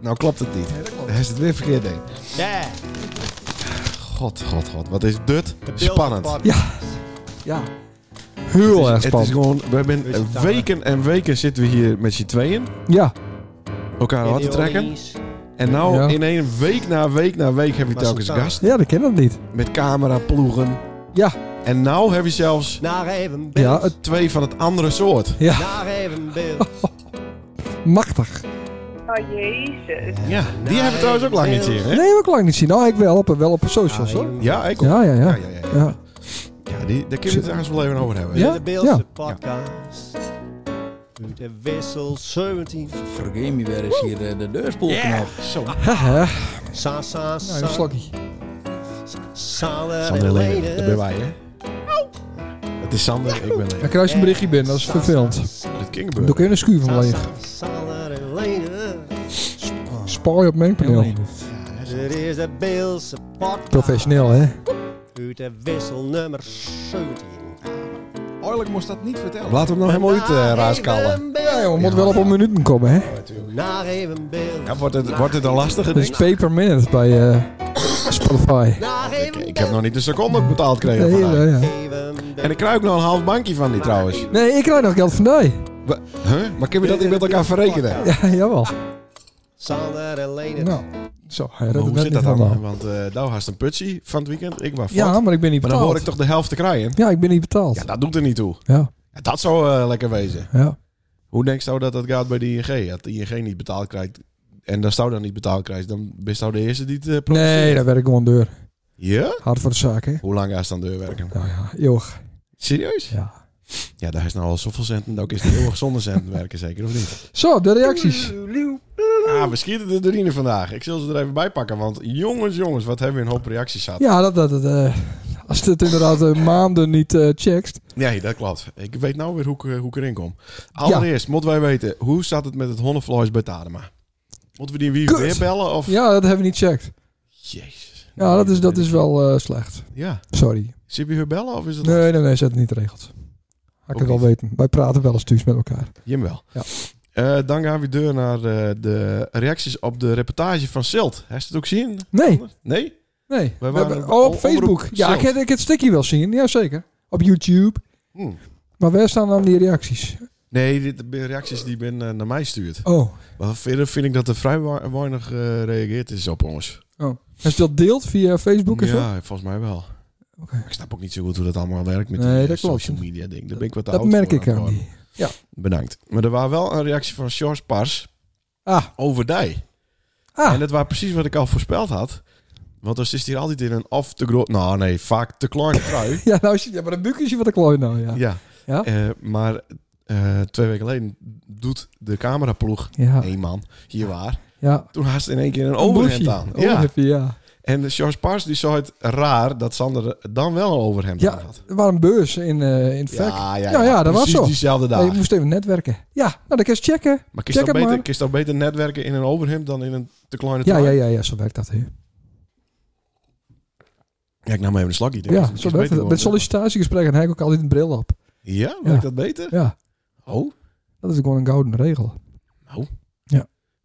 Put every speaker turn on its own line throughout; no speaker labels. Nou klopt het niet. Hij is het weer verkeerd heen.
Ja.
God, god, god. Wat is dit spannend.
Ja. Ja.
Het
Heel
is-
erg
Het is
spannend.
gewoon... We hebben
Rustig aan, hè.
weken en weken zitten we hier met z'n tweeën.
Ja.
Elkaar hard te trekken. En nou
Ja.
in één week na week na week heb je
Maar
telkens
zo'n taal.
gast.
Ja, dat ken dat niet.
Met camera, ploegen.
Ja.
En nou heb je zelfs
Naar even beeld.
Ja, het, Oh,
twee van het andere soort.
ja.
Naar even beeld.
Machtig.
Oh jezus.
Ja, die hebben we trouwens ook lang niet zien, hè?
Nee, heb ik lang niet zien. Nou, ik wel op, wel op socials
Naar
hoor.
even
Ja, ik ook.
Ja, ja, ja.
ja, ja, ja.
Ja.
Ja, die, daar kunnen we het trouwens wel even over hebben.
Ja?
De Beeldse
Ja.
podcast. De wissel 17.
Vergeet me weer eens hier eh, de deurspoel knap.
Zo.
Ah,
Haha.
Sa, sa,
Nou, een
sa.
slokkie.
Sander
Sander en
en Lene,
Lene.
dat ben wij, hè? Het is Sander, ik ben
Dan
Lene.
krijg je een berichtje binnen, dat is vervelend.
Het
Doe
Kingbeurt.
ik een schuur van
Sa,
leeg.
sa, Sander en Lene.
Spaar je op mengpaneel.
Dit is de Beeldse podcast.
Professioneel, hè?
Uit de wissel nummer 17.
Oorlijk moest dat niet vertellen.
Laat hem nou helemaal uit eh, raaskallen.
Naar even
Ja,
beeld.
joh, moet wel op een minuten komen, hè?
Naar even beeld.
Ja, wordt, het, wordt het een lastige
Dat is
ding?
pay per minute bij eh, Spotify.
Naar
Ik,
even
ik heb
beeld.
nog niet een seconde betaald gekregen
Nee,
van haar.
ja, ja.
Even
En ik krijg ook nog een half bankje van die trouwens.
nee, ik krijg nog geld van mij.
Wa- Huh? Maar kun je dat niet met elkaar verrekenen?
Ja, jawel.
Sander en Lene.
Nou, zo,
Maar
hij redt het
hoe
net
zit dat
niet
dan?
allemaal.
Want eh nou had een putsie van het weekend. Ik was
Ja,
fort.
maar ik ben niet
Maar dan hoor ik
betaald.
toch de helft te krijgen.
Ja, ik ben niet betaald.
Ja, dat doet er niet toe.
Ja,
Ja, dat zou eh, lekker wezen.
ja.
Hoe denk je nou dat dat gaat bij de ING? Dat de ING niet betaald krijgt en dan zou dan niet betaald krijgt, dan ben je nou de eerste die het eh,
Nee,
produceert.
daar werk ik gewoon deur.
Ja?
Hard voor de zaak, hè?
Hoe lang gaat ze aan de deur werken?
Nou ja, eeuwig.
Serieus?
Ja.
Ja, daar is nou al zoveel centen. Ook is het heel erg zonder centen werken, zeker of niet?
Zo, de reacties.
Ah, we schieten de drieën vandaag. Ik zal ze er even bij pakken, want jongens, jongens, wat hebben we een hoop reacties gehad.
Ja, dat, dat, dat, eh, als het inderdaad eh, maanden niet eh checkt.
Nee, dat klopt. Ik weet nou weer hoe ik, eh, hoe ik erin kom. Allereerst, moeten wij weten, hoe staat het met het hondenvlees bij Tadema? Moeten we die wie
Kut.
weer bellen? Of...
Ja, dat hebben we niet checkt.
Jezus.
Ja, dat is, dat is wel eh, slecht.
Ja.
Sorry.
Zit je weer bellen of is het...
Nee, nee, nee, zet het niet regeld. Had ik
Ook
het al weten. Wij praten wel eens thuis met elkaar.
Jim wel.
Ja.
Eh, dan gaan we door naar eh, de reacties op de reportage van Silt. Heb je het ook zien?
Nee,
Nee?
nee.
Wij
We
waren
hebben,
op-
oh, op
op-
Facebook.
omroep
Ja, ik
zelf.
heb ik heb het stukje wel zien. Jazeker. Op YouTube.
Hm.
Maar waar staan dan die reacties?
Nee, dit zijn reacties die men eh, naar mij stuurt.
Oh.
Maar verder vind ik dat er vrij wa- weinig gereageerd is op ons.
Als je dat deelt via Facebook en zo?
Ja, volgens mij wel.
Oké.
Ik snap ook niet zo goed hoe dat allemaal werkt met
Nee,
die eh,
dat klopt.
social media ding. Daar ben ik wat te
Dat
oud
merk
voor aan
ik
het
aan
worden.
die.
Bedankt. Maar er was wel een reactie van George Pars
Ah.
over die.
Ah,
En dat was precies wat ik al voorspeld had. Want dan zit hier altijd in een of te groot... Nou nee, vaak te kleine trui.
ja, nou, is- ja, maar dat buik is je wat ik looi nou, ja.
Ja.
Ja?
Eh, maar eh, twee weken geleden doet de cameraploeg,
Ja,
één man, hier waar.
ja.
Toen haast in één keer een overhemd aan. Ja.
Ja. ja.
En de George Pars die zei het raar dat Sander dan wel een overhemd aan
Ja,
had.
er waren beurs in, eh in fact.
Ja, ja,
Ja, ja, dat was
Precies
zo.
diezelfde dag.
Nee, je moest even netwerken. Ja, nou, dan kan je eens checken.
maar kist
check
dat
het
beter,
maar.
kist dat beter netwerken in een overhemd dan in een te kleine
Ja,
trui?
ja, ja, ja, zo werkt dat. Hè.
Ja, ik nam even een slagje. denk ik.
Ja,
Is
zo werkt dat.
geworden.
Met sollicitatiegesprekken heb ik ook altijd een bril op.
Ja, werkt
Ja.
dat beter?
Ja,
Oh,
dat is gewoon een gouden regel.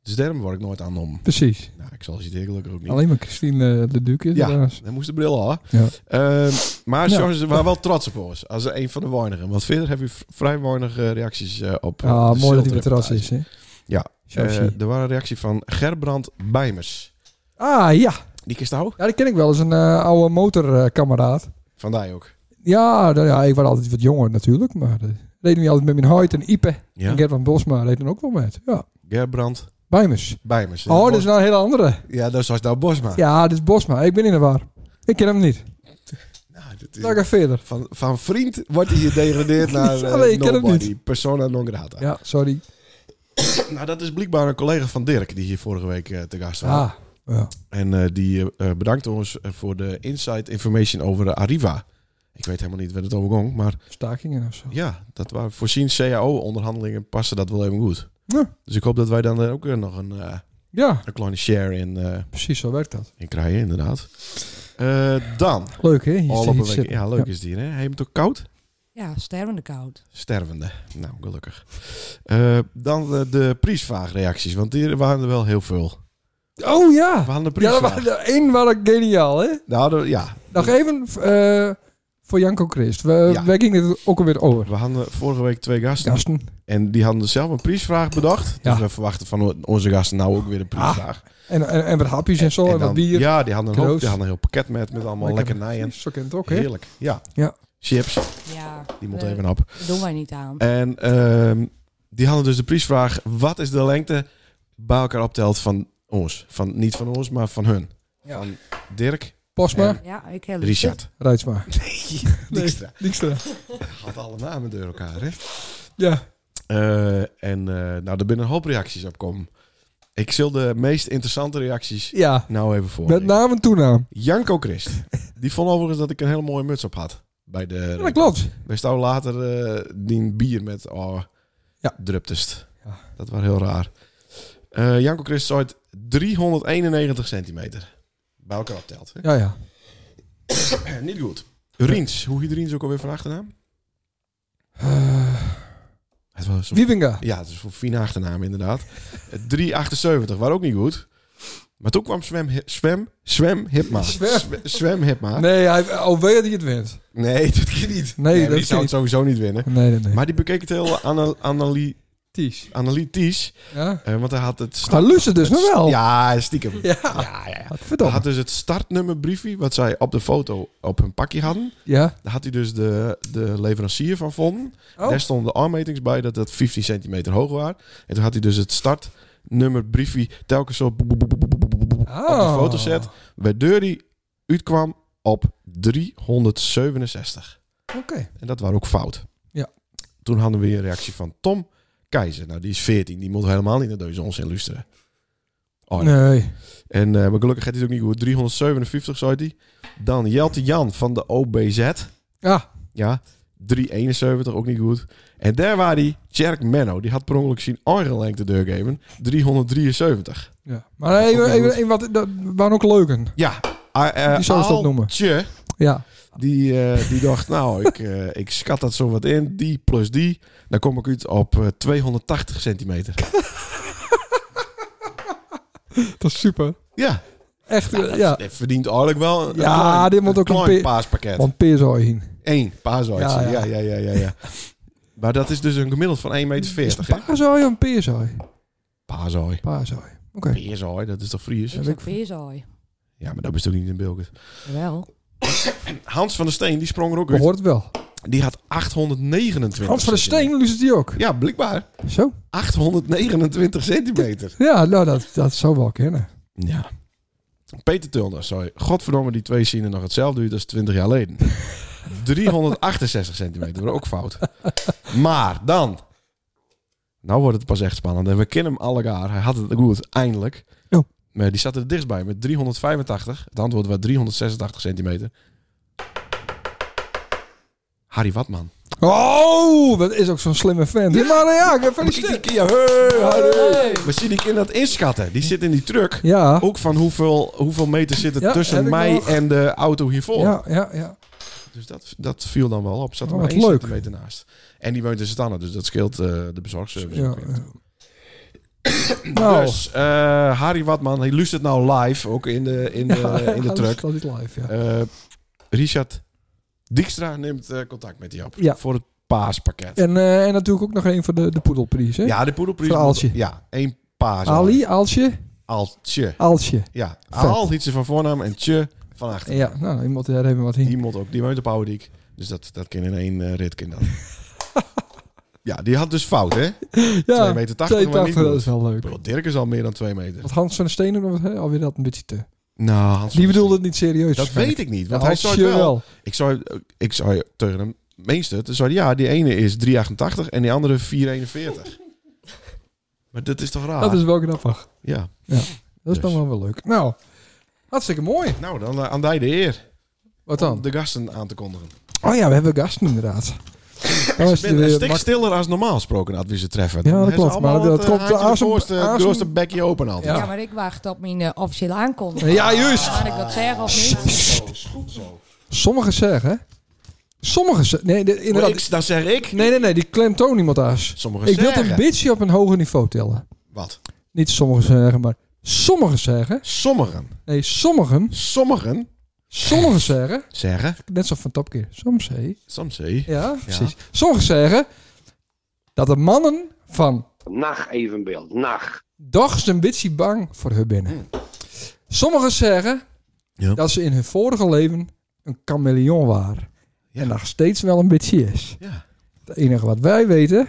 dus daarom word ik nooit aan om.
Precies.
Nou, ik zal citeren gelukkig ook niet.
Alleen maar Christine eh, de Duc is
Ja.
er anders.
Hij moest de bril al.
Ja.
Ehm, maar
Ja.
George, we waren wel trots op ons. Als een van de weinigen. Want verder heb je v- vrij weinig eh, reacties eh, op. eh,
Ah,
de
mooi dat hij weer
Silt-reportage.
terras is, hè?
Ja,
Georgie.
Eh, er was een reactie van Gerbrand Bijmers.
ah, ja.
Die kist nou?
Ja, die ken ik wel. Dat is een eh, oude motorkameraad.
Van die ook.
ja, nou ja, ik was altijd wat jonger natuurlijk. Maar eh, dat reden we altijd met mijn huid en Ipe.
Ja.
En Gert van Bosma reed dan ook wel met. Ja,
Gerbrand
Bijmers.
Bijmers.
Oh, dat is nou een hele andere.
Ja, dat was nou Bosma.
Ja, dit is Bosma. Ik ben in de war. Ik ken hem niet.
Nou, dit is-
Ga ik even verder.
van, van vriend wordt hij gedegradeerd naar eh,
Ja, nee, ik ken hem
nobody.
niet.
Persona non grata.
Ja, sorry.
Nou, dat is blijkbaar een collega van Dirk die hier vorige week eh, te gast was.
Ah, ja.
En eh, die eh, eh, bedankt ons eh, voor de inside information over de Arriva. Ik weet helemaal niet waar het over ging, maar
stakingen of zo.
ja, dat waren voorzien CAO-onderhandelingen passen dat wel even goed.
Ja.
Dus ik hoop dat wij dan eh, ook eh, nog een, eh,
Ja,
een kleine share in, eh,
precies, zo werkt dat.
in krijgen, inderdaad. Eh, dan,
Leuk, hè? Hier
al
zit-
op
hier
een week.
zitten.
Ja, leuk is die, hè? Heb je hem toch koud?
Ja, stervende koud.
Stervende. Nou, gelukkig. Eh, dan eh, de priesvraagreacties, want die waren er wel heel veel.
Oh ja.
We hadden een
Ja,
prijs.
dat was, de één was geniaal, hè?
Nou, de- ja.
Nog even eh, voor Janko Christ. We,
Ja.
wij gingen het ook alweer over.
We hadden vorige week twee gasten.
Gasten.
En die hadden zelf een prijsvraag bedacht.
Ja. Ah, dus
Dus we verwachten van onze gasten nou ook weer een prijsvraag.
En, en, en wat hapjes en zo. En,
En
wat
dan-
bier.
Ja, die hadden, een hoop,
cadeaus.
die hadden een heel pakket met, met allemaal lekkernijen.
Zo kent het ook, hè?
Heerlijk, ja.
Ja.
Chips,
Ja,
die moet
eh,
even op.
daar doen wij niet aan.
En ehm, die hadden dus de prijsvraag... wat is de lengte bij elkaar optelt van ons? Van, niet van ons, maar van hun.
Ja.
Van Dirk,
Posma.
Ja, ik heel
Richard.
Rijtsma. Nee.
Dijkstra.
Dijkstra.
Had alle namen door elkaar, hè?
Ja.
Eh, en eh, nou, er binnen een hoop reacties op komen. Ik zal de meest interessante reacties
Ja.
nou even voor.
Met naam en toenaam.
Janko Christ. Die vond overigens dat ik een hele mooie muts op had. Bij de.
Ja, dat klopt.
Wij staan later eh, die bier met. Oh,
Ja.
Druptest.
Ja.
Dat was heel raar. Eh, Janko Christ zei het 391 centimeter. Bij elkaar optelt. hè?
Ja, ja.
Niet goed. Riens. Hoe heet Riens ook alweer van achternaam?
Eh,
Het was een-
Wiebinga.
ja, het is een fine achternaam inderdaad. Eh, 378. Waar ook niet goed. Maar toen kwam Swem, Hi- Swem, Swem Hipma.
Swem.
Swe- Swem Hipma.
Nee, hij, al weet hij het wint.
Nee, dat kan niet.
Nee, dat
die
kan
zou het
niet.
sowieso niet winnen.
Nee, nee, nee.
Maar die bekeek het heel ana- anali-
Ties.
analytisch.
Ja.
eh, want hij had het...
Maar luistert dus nog wel.
Ja, stiekem.
Ja.
ja, ja.
Wat
Hij
verdomme.
had dus het startnummerbriefje, wat zij op de foto op hun pakje hadden.
Ja.
Daar had hij dus de, de leverancier van vonden.
Oh.
Daar stonden de armmetings bij dat dat 15 centimeter hoog was. En toen had hij dus het startnummerbriefje telkens zo boep, boep, boep, boep, boep, boep, boep, op de
Oh.
foto zet. Waardoor hij uitkwam op 367.
Oké.
En dat was ook fout.
Ja.
Toen hadden we een reactie van Tom Keizer. Nou, die is 14. Die moet helemaal niet naar deze onzin luisteren. Oh,
Nee.
En, eh, maar gelukkig gaat hij het ook niet goed. 357, zei hij. Dan Jelte Jan van de OBZ.
Ja.
Ja, 371, ook niet goed. En daar waar die Jerk Menno. Die had per ongeluk zijn eigen lengte doorgeven. 373.
ja. Maar
ook
even,
niet
even,
goed.
even wat, dat waren ook leuken.
Ja, eh, eh,
Die zou ze dat noemen.
Aaltje,
Ja.
Die, eh, die dacht, nou, ik, eh, ik schat dat zo wat in. Die plus die. Dan kom ik uit op eh, 280 centimeter.
Dat is super.
Ja,
Echt, eh, ja.
dit verdient eigenlijk wel een,
Ja,
klein,
dit moet ook een
klein
pe-
paaspakket.
Want peer zou je heen.
Eén paasoitje. Ja ja.
Ja, ja.
Ja, ja, ja, ja. Maar dat is dus een gemiddeld van 1,40 meter. hè?
Paar zou je een peer zou je?
Paasooi.
Paar zou je. Oké.
Peerzooi, dat is toch Fries?
Ik zou peerzooi.
Ja, maar dat is toch niet in Bilkert.
Wel.
Hans van der Steen, die sprong er ook
We
uit.
hoort het wel.
Die had 829
Hans van de Steen luistert die ook.
centimeter. Ja, blijkbaar.
Zo?
829 centimeter.
Ja, nou, dat, dat zou wel kennen.
Ja. Peter Tulner, sorry. Godverdomme, die twee zien er nog hetzelfde uit als 20 jaar geleden. 368 centimeter, maar ook fout. Maar dan. Nou wordt het pas echt spannend. En we kennen hem allegaar. Hij had het goed, eindelijk.
Ja.
Maar die zat er dichtstbij met 385. Het antwoord was 386 centimeter. Harry Watman.
Oh, dat is ook zo'n slimme fan. Ja, maar ja, gefeliciteerd.
Ja, hey, Harry. We zien die kinderen dat inschatten. Die zit in die truck.
Ja.
Ook van hoeveel, hoeveel meter zit het
Ja, heb
tussen
ik
mij
nog.
en de auto hiervoor.
Ja, ja, ja.
Dus dat, dat viel dan wel op. Zat er
Oh,
maar
wat
één
leuk.
centimeter naast. En die woont in Stanne, dus dat scheelt eh, de bezorgservice.
ja,
ook weer.
ja. Nou,
Dus eh, Harry Watman, hij luistert nou live, ook in de, in de, in de
dat
truck.
is- Dat is live, ja.
Eh, Richard Dijkstra neemt eh, contact met die op
Ja.
voor het paaspakket. Ja,
En, eh, en natuurlijk ook nog een van de, de poedelprijs, hè?
de poedelprijs.
Voor Aaltje.
Ja, één paas.
Ali, Aaltje,
Aaltje.
Aaltje.
Ja,
Vet.
Aal iets van voornaam en tje van achter.
Ja, nou, iemand daar hebben we wat in.
Die moet ook, die woont op Ouwendijk. Dus dat, dat kan in één eh, rit kan dat. ja, die had dus fout, hè? 2,80 meter, maar niet
2,80, dat
goed.
is wel leuk.
Bro, Dirk is al meer dan 2 meter.
Want Hans van der Stenen, of, hè, alweer dat een beetje te...
Nou, Hans
Die
van der
bedoelde het niet serieus.
Steen. Dat weet ik niet, want hij zei
je
het wel. Ik, zou, ik zou tegen hem meester, toen zei hij, ja, die ene is 3,88 en die andere 4,41. maar dat is toch raar?
Dat is wel grappig.
Ja.
Dat is
Ah. Dus.
dan wel wel leuk. Nou, hartstikke mooi.
Nou, dan eh, aan jij de eer
Wat
om
dan?
de gasten aan te kondigen.
Oh ja, we hebben gasten inderdaad. Nou,
Ik
is het
ben een
weer
stuk
mak-
stiller als normaal gesproken had wie ze treffen. Dan
Ja, dat
hebben ze
klopt, maar
allemaal
dat
het, eh,
klopt.
haantje
Als hem-
de voorste,
als hem-
grootste bekje open altijd.
Ja.
Ja.
maar ik wacht op mijn eh, officiële aankondiging.
Ja, juist.
Kan ik dat zeggen of niet?
Sommigen zeggen... Sommigen zeggen... Nee, de- inderdaad.
Ik, dan zeg ik.
Nee, nee, nee. Die klemtoon iemand aan.
Sommigen
Ik wil het
zeggen.
een beetje op een hoger niveau tellen.
Wat?
Niet sommigen zeggen, maar Sommigen zeggen,
Sommigen.
nee, sommigen,
Sommigen
sommigen zeggen,
zeggen.
net zo van Top Gear, soms hè.
Soms say.
Ja, precies. Sommigen zeggen dat de mannen van
Nacht evenbeeld, nacht.
dochs een beetje bang voor hun binnen. Sommigen zeggen
Ja.
dat ze in hun vorige leven een chameleon waren. En nog steeds wel een beetje is.
Ja.
Het enige wat wij weten,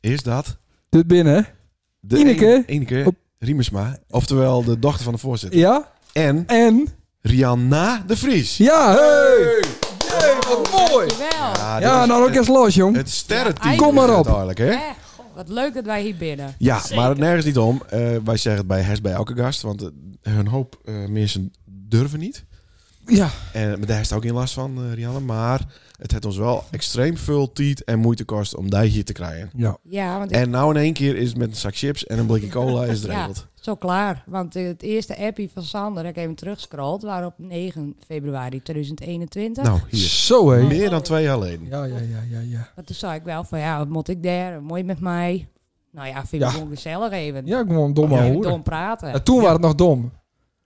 Is dat?
dit binnen,
De
Ineke.
een- Ineke
Op-
Riemersma. Oftewel de dochter van de voorzitter.
ja,
En
en,
Rianna de Vries.
ja, hey! Hey, wat mooi!
Wel.
Ah, dit
Ja,
is
nou ook
het,
eens los, jong.
het sterrenteam.
Kom
maar
is het
op.
Eigenlijk, hè?
Hè? Eh, Goh, Wat leuk dat wij hier binnen.
Ja, maar het nergens niet om. Eh, wij zeggen het bij Hers bij elke gast, want eh, een hoop eh, mensen durven niet.
Ja,
En maar daar is het ook geen last van, eh, Rianne. Maar het heeft ons wel extreem veel tijd en moeite kost om die hier te krijgen.
ja.
Ja, want ik-
En nou in één keer is het met een zak chips en een blikje cola is het
Ja.
regeld.
zo klaar. Want eh, het eerste appie van Sander, dat ik even terugscrollt, waren op 9 februari 2021.
Nou, hier.
Zo hé.
Meer dan twee jaar geleden.
Ja, ja, ja, ja, ja.
Maar toen zei ik wel van, ja, wat moet ik daar? Mooi met mij. Nou ja, vind ik
Ja.
gewoon gezellig even.
Ja, gewoon dom
Even
houden.
dom praten.
Ja, toen waren het nog dom.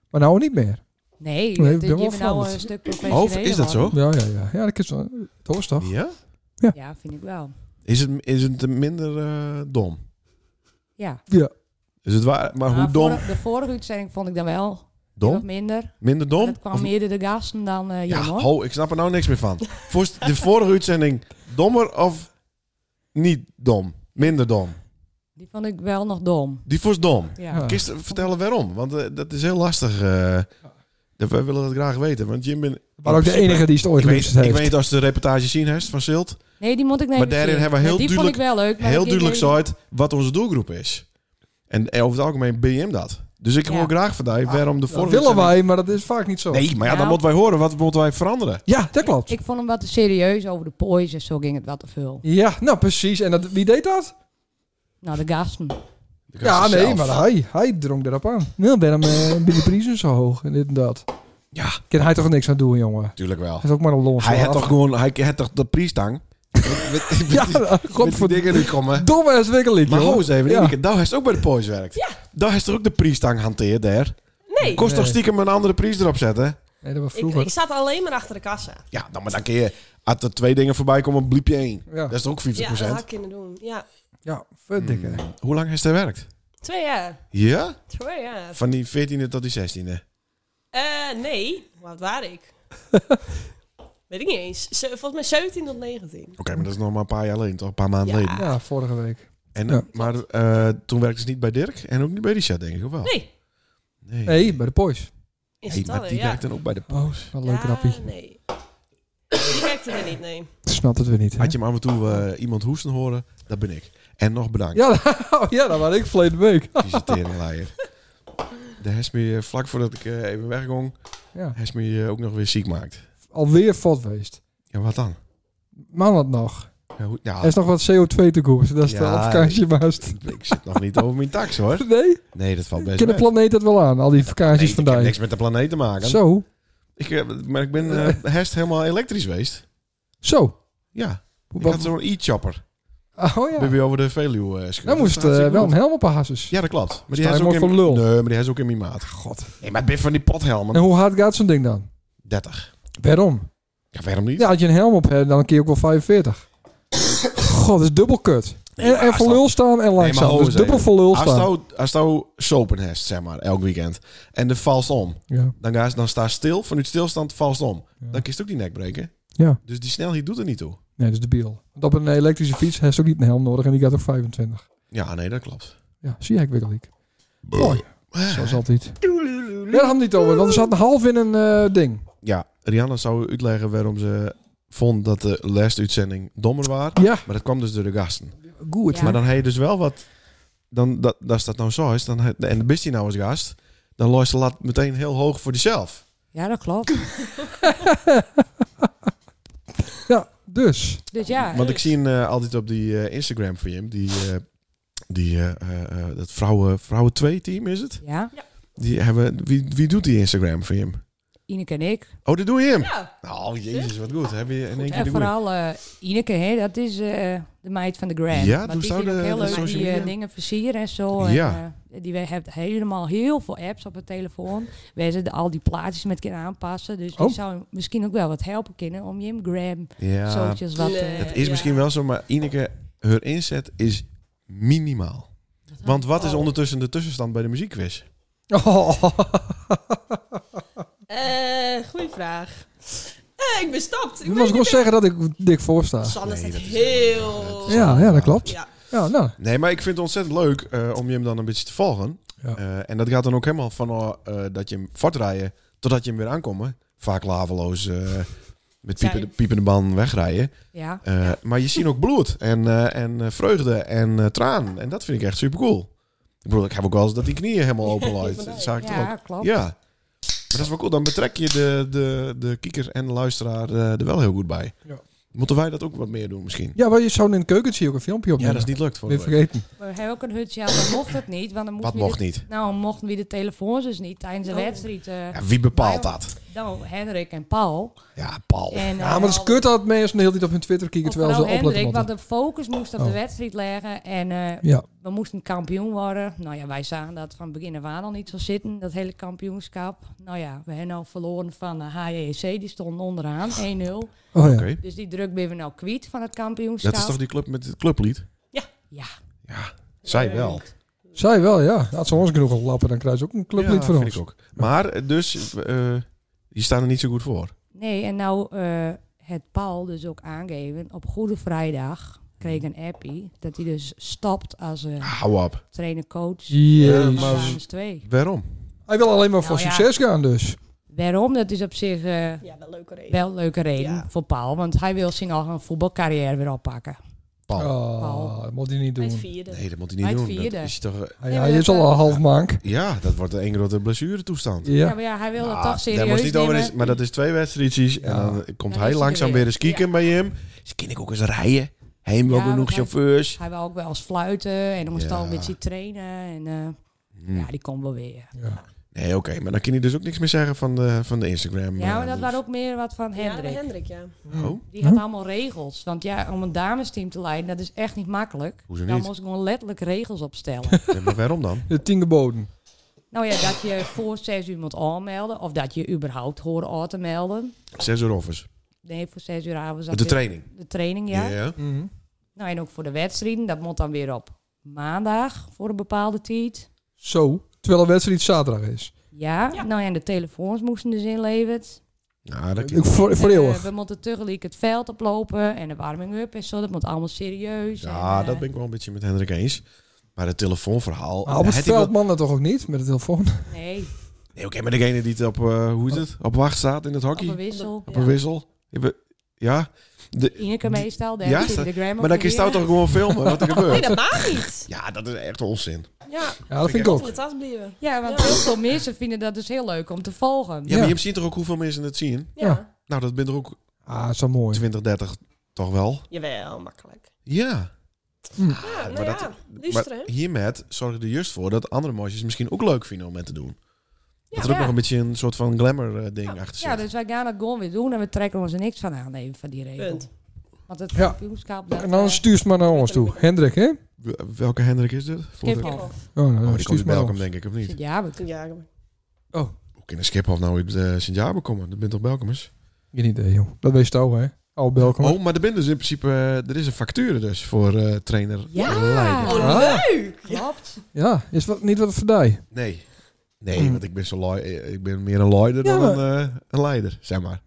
Maar nou niet meer.
Nee,
Nee,
dat-
ik ben
je
wel
bent nou
veranderd.
een stuk
Oh,
professioneler.
is dat zo?
Ja, ja, ja. Ja, dat is wel... Het hoort toch?
Ja?
Ja, vind ik wel.
Is het, is het minder eh, dom?
Ja. Nou,
Ja.
Is het waar? Maar hoe
de
dom?
vorige- de vorige uitzending vond ik dan wel wat
Dom?
minder.
Minder dom?
Dat kwam
Of-
meer door de gasten dan eh
Ja,
Jon, hoor.
ho, ik snap er nou niks meer van. Voorst- de vorige uitzending, dommer of niet dom? Minder dom.
Die vond ik wel nog dom.
Die was dom.
Ja.
Ja.
Kist vertellen waarom, want eh, dat is heel lastig. eh. Dat- wij willen dat graag weten, want Jim ben...
Maar ook de enige die het ooit
Ik weet,
liefst
ik
heeft.
weet als je de reportage zien hebt van Silt,
Nee, die moet ik nemen.
Maar daarin hebben we heel
die
duidelijk-
vond ik wel leuk. Maar
heel
die-
duidelijk
die-
zei wat onze doelgroep is. En eh, over het algemeen ben je hem dat. Dus ik
Ja.
wil graag van jou waarom de
Dat
vorige
willen
uitzending-
wij, maar dat is vaak niet zo.
Nee, maar ja, dan
Nou.
moeten wij horen. Wat moeten wij veranderen?
Ja, dat klopt.
Ik vond hem wat te serieus over de poise. Zo ging het wat te veel.
Ja, nou precies. En dat, wie deed dat?
Nou, de gasten.
De
Ja,
gasten
nee,
zelf.
maar hij, hij drong erop aan. Nou, daarom eh, ben de prijzen zo hoog en dit en dat.
Ja,
Kan hij toch niks aan doen, jongen?
natuurlijk wel.
Hij is ook maar een lons.
Hij had toch gewoon, hij had toch de priestang?
Ja, god voor
dingen die komen.
Domme is wikkelig,
Maar
joh.
ho eens even,
Ja.
Ineke, daar heeft ook bij de poys werkt. Ja. Daar heeft er ook de priestang hanteerd, daar.
Nee,
Kost toch
Nee.
stiekem een andere priest erop zetten?
Nee, dat was
ik,
vroeger.
ik zat alleen maar achter de kassa.
Ja, dan maar dan kun je, als er twee dingen voorbij komen, bliep je één.
Ja.
Dat is toch ook 50%?
Ja, dat had ik kunnen doen. Ja,
Ja, verdikke.
Hmm. Hoe lang heeft hij werkt?
twee jaar.
Ja?
Twee jaar.
Van die 14e tot die 16e.
Eh, nee, wat waar ik? Weet ik niet eens. Ze- Volgens mij 17 tot 19.
Oké, maar dat is nog maar een paar jaar geleden, toch? Een paar maanden
Ja.
geleden.
Ja, vorige week.
En,
Ja.
Maar eh, toen werkte ze niet bij Dirk en ook niet bij Richard, denk ik, of wel?
Nee,
Nee,
Nee, bij de Poys.
in
Hey,
z'n
maar
allen,
die
ja.
werkte dan ook bij de
Oh,
poos.
wat een leuk
ja,
rappie.
nee. Die werkte er niet, nee.
Ik Snap het weer niet. hè?
Had je hem af en toe eh, iemand hoesten horen? Dat ben ik. En nog bedankt.
Ja, oh, ja, dat was ik verleden week.
visiteringlijer. De Hesme, eh, vlak voordat ik eh, even weggong,
Ja.
Hesme eh, ook nog weer ziek maakt.
Alweer fot geweest.
Ja, wat dan?
Man had nog.
Ja, hoe- ja,
Er is nog wat CO2 te koers. Dat is
Ah. Ja,
de op vakantie baast.
ik, ik zit nog niet over mijn tax hoor.
Nee?
Nee, dat valt Oh, best
Ken de
mee.
planeet dat wel aan? Al die
Nee,
vakanties
ik heb
vandaag.
niks met de planeet te maken.
Zo.
Ik, eh, maar ik ben eh, herst helemaal elektrisch geweest.
Zo.
Ja, ik
Wat-
had zo'n e-chopper.
Oh
Ben
ja.
weer over de Veluwe eh, schudden.
Dan
Dat is
moest eh,
hartstikke
wel een
goed.
helm op haar hasses.
Ja, dat klopt. Maar die
Sta
is
je
ook
maar
in...
voor lul.
Nee, maar die is ook in mijn maat.
God.
Nee, maar het ben van die pothelmen.
En hoe hard gaat zo'n ding dan?
30.
Waarom?
Ja, waarom niet?
Ja, als je een helm op hebt, dan kun je ook wel 45. God, dat is dubbel kut.
Nee, maar
en en voor
als
lul staan en langzaam.
ho
dus
eens
dubbel
even.
voor lul
Als
staan.
jou- Als nou jou sopen hebt, zeg maar, elk weekend. En de valt om.
Ja.
Dan, ga, dan sta stil, vanuit stilstand valt om. Dan kiest ook die nek breken.
Ja.
Dus die snelheid doet er niet toe.
Nee, dat is debiel. Want op een elektrische fiets heeft ze ook niet een helm nodig en die gaat ook 25.
Ja, nee, dat klopt.
Ja, zie ik wikkelijk. Mooi. Zoals altijd. Nee, daar had het niet over, want er zat een half in een eh, ding.
Ja, Rihanna zou uitleggen waarom ze vond dat de laatste uitzending dommer was.
Ja,
Maar dat kwam dus door de gasten.
goed.
Ja.
Maar dan heb je dus wel wat... Dan, dat, als dat nou zo is, dan, he- en dan bist hij nou als gast... dan loopt ze lat meteen heel hoog voor zichzelf.
Ja, dat klopt.
Ja, dus.
Dus ja.
Want ik zie eh, altijd op die eh, Instagram van Jim... die, eh, die eh, eh, eh, dat vrouwen, vrouwen 2-team is het?
Ja.
Die hebben, wie, wie doet die Instagram voor Jim?
Ineke en ik.
Oh, dat doe je hem.
Ja,
Nou, jezus, wat goed. Heb je in één keer
En
de goeie.
vooral eh, Ineke, hè, dat is eh, de meid van de Grand.
Ja,
maar
doe
die
zou
vindt
de-
ook heel
de
leuk
social
die eh,
media?
dingen versieren en zo. En,
Ja.
eh, die we- heeft helemaal heel veel apps op haar telefoon. Wij zetten al die plaatjes met kunnen aanpassen. Dus die
Oh.
zou misschien ook wel wat helpen kunnen om Jim Graham
Ja,
zootjes wat...
Nee.
eh,
het is
Ja.
misschien wel zo, maar Ineke, haar inzet is minimaal. Want wat is ondertussen de tussenstand bij de muziekquiz?
Oh,
Eh goeie vraag. Eh, ik ben stapt.
dan was ik wel zeggen dat ik dik voor sta.
Sanne
Nee,
staat
dat is
heel...
Ja, ja, dat klopt.
Ja.
Ja, nou.
Nee, maar ik vind het ontzettend leuk eh, om je hem dan een beetje te volgen.
Ja.
Eh, en dat gaat dan ook helemaal van oh, eh, dat je hem voortrijden totdat je hem weer aankomt. Vaak laveloos eh, met
Zijn.
piepende, piepende ban wegrijden.
ja.
Eh, Maar je ziet ook bloed en, eh, en eh, vreugde en eh, traan. En dat vind ik echt super cool. Ik bedoel, ik heb ook wel eens dat die knieën helemaal open
die
loopt.
van
Dat
mij.
zag ik toch
ja,
ook.
klopt.
Ja. Maar dat is wel cool. Dan betrek je de, de, de kieker en de luisteraar eh, er wel heel goed bij.
Ja.
Moeten wij dat ook wat meer doen misschien?
Ja, maar je zou in de keuken zie je ook een filmpje op.
Ja, dat is niet lukt voor
Weer
de week.
vergeten.
We hebben ook een hutje, ja, dan mocht het niet. Want dan moest
Wat
we
mocht
de-
niet?
Nou, mochten we de telefoons dus niet tijdens de
Oh.
wedstrijd. eh,
Ja, Oh. wie bepaalt
Maar-
dat?
Nou, Henrik en Paul.
Ja, Paul.
En, eh,
Ja, maar het is kut dat mensen de hele tijd op hun Twitter kijken
Of
terwijl ze
vooral
opletten
Hendrik,
moeten.
want de focus moest op
Oh.
de wedstrijd liggen. En eh,
Ja,
we moesten kampioen worden. Nou ja, wij zagen dat van begin af aan al niet zo zitten, dat hele kampioenschap. Nou ja, we hebben al verloren van eh, HJC, die stond onderaan, 1-0.
oh ja.
Oké.
Dus die druk ben we nou kwijt van het kampioenschap.
Dat is toch die club met het clublied?
Ja, Eh,
Ja, zij wel.
Zij wel, ja. Had ze ons genoeg lappen, dan krijg ze ook een clublied
ja,
voor
vind
ons.
ik ook. Maar eh, dus, eh, je staat er niet zo goed voor.
nee, en nou eh, het Paul dus ook aangeven, op Goede Vrijdag kreeg een appie dat hij dus stopt als eh,
Hou op.
trainer-coach.
Jezus.
Ja, maar-
Dames twee.
Waarom?
Hij wil alleen maar voor
Nou ja.
succes gaan, dus.
Waarom? Dat is op zich... eh,
Ja, wel leuke reden.
Wel een leuke reden
Ja.
voor Paul, want hij wil zijn eigen voetbalcarrière weer oppakken.
Paul.
Oh, dat moet hij niet
Hij is
doen.
vierde.
Nee, dat moet hij
Hij
niet
het
doen. Dat
vierde.
is toch, eh,
Hij,
Nee, maar
hij
dat,
is al
eh,
een half mank.
ja, dat wordt een grote blessuretoestand.
Ja.
Ja, maar ja, hij wil dat
Ah,
toch serieus
daar moest niet over
nemen.
is, maar dat is twee wedstrijdjes. En
Ja.
dan komt
Dan
hij
is hij
langzaam
er
weer
weer.
eens kieken bij hem. Dus ken ik ook eens rijden. Heem wel
Ja,
genoeg
want hij-
chauffeurs.
Hij wil ook wel eens fluiten en dan moest hij al
Ja.
een beetje trainen. En eh,
Hm.
ja, die komt wel weer.
Ja.
Nee, oké. maar dan kan hij dus ook niks meer zeggen van de, van de Instagram.
Ja, maar
eh,
dat
moves.
was ook meer wat van
Ja, bij
Hendrik.
Hendrik, ja.
Oh,
Die had allemaal regels. Want ja, om een damesteam te leiden, dat is echt niet makkelijk.
Hoezo
Daar
niet?
moest ik gewoon letterlijk regels opstellen.
ja, maar waarom dan?
De tien geboden.
nou ja, dat je voor zes uur moet aanmelden. Of dat je überhaupt hoort aan te melden.
Zes uur offers.
Nee, voor zes uur avonds. dat
De
weer-
training.
De training, ja.
Mhm.
Nou, en ook voor de wedstrijden. Dat moet dan weer op maandag voor een bepaalde tijd.
Zo. Terwijl de wedstrijd zaterdag is.
Ja,
Ja.
nou ja, en de telefoons moesten dus inleverd.
Ja, Nou, dat
Ik, voor, voor
En, eh,
eeuwig.
we moeten tegelijk het veld oplopen en de warming-up en zo. Dat moet allemaal serieus.
Ja,
en, eh,
dat ben ik wel een beetje met Hendrik eens. Maar het telefoonverhaal.
Maar Ah, op het
Oh, had hij
veld
wel-
man dat toch ook niet, met de telefoon?
Nee,
Nee, oké, maar degene die het op, eh, hoe is het? Op wacht staat in het
op een
hockey.
wissel.
Op een wissel. Je be- Ja. De,
Ineke meestal, daar
Ja,
zit
sta-
de gram
maar dan kun je stout toch gewoon filmen wat er
Nee,
gebeurt.
dat mag niet.
Ja, dat is echt onzin.
Ja,
Ja, dat vind ik
tot in
ook.
de tas blijven.
Ja, want
Ja.
heel veel mensen vinden dat dus heel leuk om te volgen.
Ja,
Ja.
maar je ziet toch ook hoeveel mensen het zien?
Ja.
Ja.
Nou, dat bent er ook
Ah, zo mooi.
20, 30 toch wel?
Jawel, makkelijk.
Ja.
Ja, nou
Ah, maar dat-
ja,
Maar
luisteren.
hiermet zorg je er juist voor dat andere mosjes misschien ook leuk vinden om het te doen. dat er ook
ja.
nog een beetje een soort van glamour eh, ding achter zit.
Ja, dus wij gaan dat gewoon weer doen en we trekken ons er niks van aan even van die regel.
Punt.
Want het
Ja.
kampioenschap... dat,
En dan
eh,
stuur ze maar naar ons toe. Hendrik, hè? Oh,
W- Welke Hendrik is dit?
Schiphol.
Oh,
nou,
die
stuur
komt
ze
uit
maar naar
Belkom,
ons. Oh,
denk ik, of niet?
Ja, we
Ja,
Hoe kan een Schiphol nou uit eh Sint-Jaber komen? Dat bent toch Belkomers?
Geen idee, joh. Dat weet je toch, hè? Al Belkom.
Oh, maar er, bent dus in principe, eh, er is een factuur dus voor eh, trainer
Ja.
Leiden.
Oh,
Ah.
leuk!
klopt.
Ja, is wat, niet wat voor die.
Nee. Nee,
Mm.
want ik ben, zo lui- eh, ik ben meer een loider
Ja,
dan een, eh, een leider, zeg maar.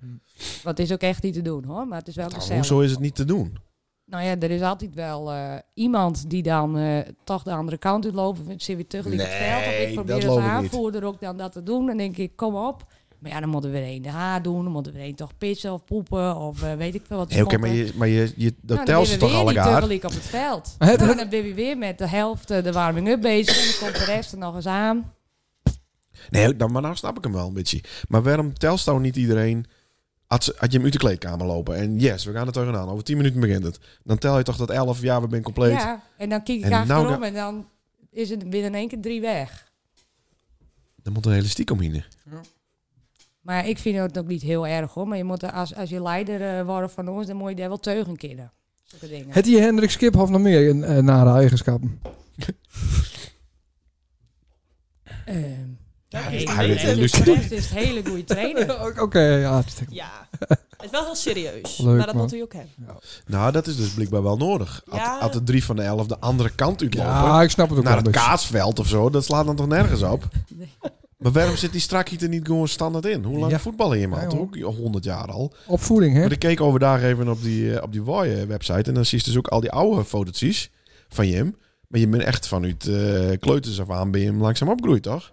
Wat is ook echt niet te doen hoor, maar het is wel
Nou,
gezellig.
hoezo is het niet te doen?
Nou ja, er is altijd wel eh, iemand die dan eh, toch de andere kant uit loopt. Of zit weer terug in het
Nee,
veld. Of ik
dat
probeer
geloof
als
ik niet.
aanvoerder ook dan dat te doen. Dan denk ik, kom op. Maar ja, dan moeten we er één de haar doen. Dan moeten we er één toch pissen of poepen. Of eh, weet ik veel wat.
Nee, oké, maar,
schoppen.
je, maar je, je, dat
Nou, dan
telt ze
ben
toch
weer
al
die
elkaar?
tuggeliek op het veld.
Het-
Nou, dan ben je weer met de helft eh, de warming-up bezig. En dan komt de rest er nog eens aan.
Nee, dan, maar nou snap ik hem wel een beetje. Maar waarom telst nou niet iedereen... Had, ze- had je hem uit de kleedkamer lopen en yes, we gaan er tegenaan. Over 10 minuten begint het. Dan tel je toch dat 11, ja, we zijn compleet.
Ja, en dan kijk ik
En nou
achterom
dan-
en dan is het binnen één keer drie weg.
Dan moet een hele stiekem in.
Maar ik vind het ook niet heel erg hoor. Maar je moet, er- als, als je leider eh, wordt van ons, dan moet je daar wel teugen kennen. Zulke dingen.
Het hier Hendrik Skiphoff nog meer een, eh, nare eigenschappen?
Ehm,
is
hij weet-
en-
Luc-
dus-
Echt is het hele goede trainer.
Oké, ja, hartstikke
Ja, het is wel heel serieus.
Leuk,
maar dat
man.
moet hij ook hebben.
Nou, dat is dus blijkbaar wel nodig. Had,
Ja.
had de drie van de elf de andere kant
goed.
uitlopen.
Ja, ik snap het ook
naar
wel.
het
een beetje.
kaasveld of zo, dat slaat dan toch nergens op?
Nee.
Maar waarom zit die strakkie er niet gewoon standaard in? Hoe lang
Ja.
voetballen je
Ja,
man?
joh.
Ook 100 jaar al.
Opvoeding, hè?
Maar ik keek overdag even op die, eh, op die Woy website en dan zie je dus ook al die oude fotootjes van Jim. Maar je bent echt vanuit eh kleuters af aan ben je hem langzaam opgroeid, toch?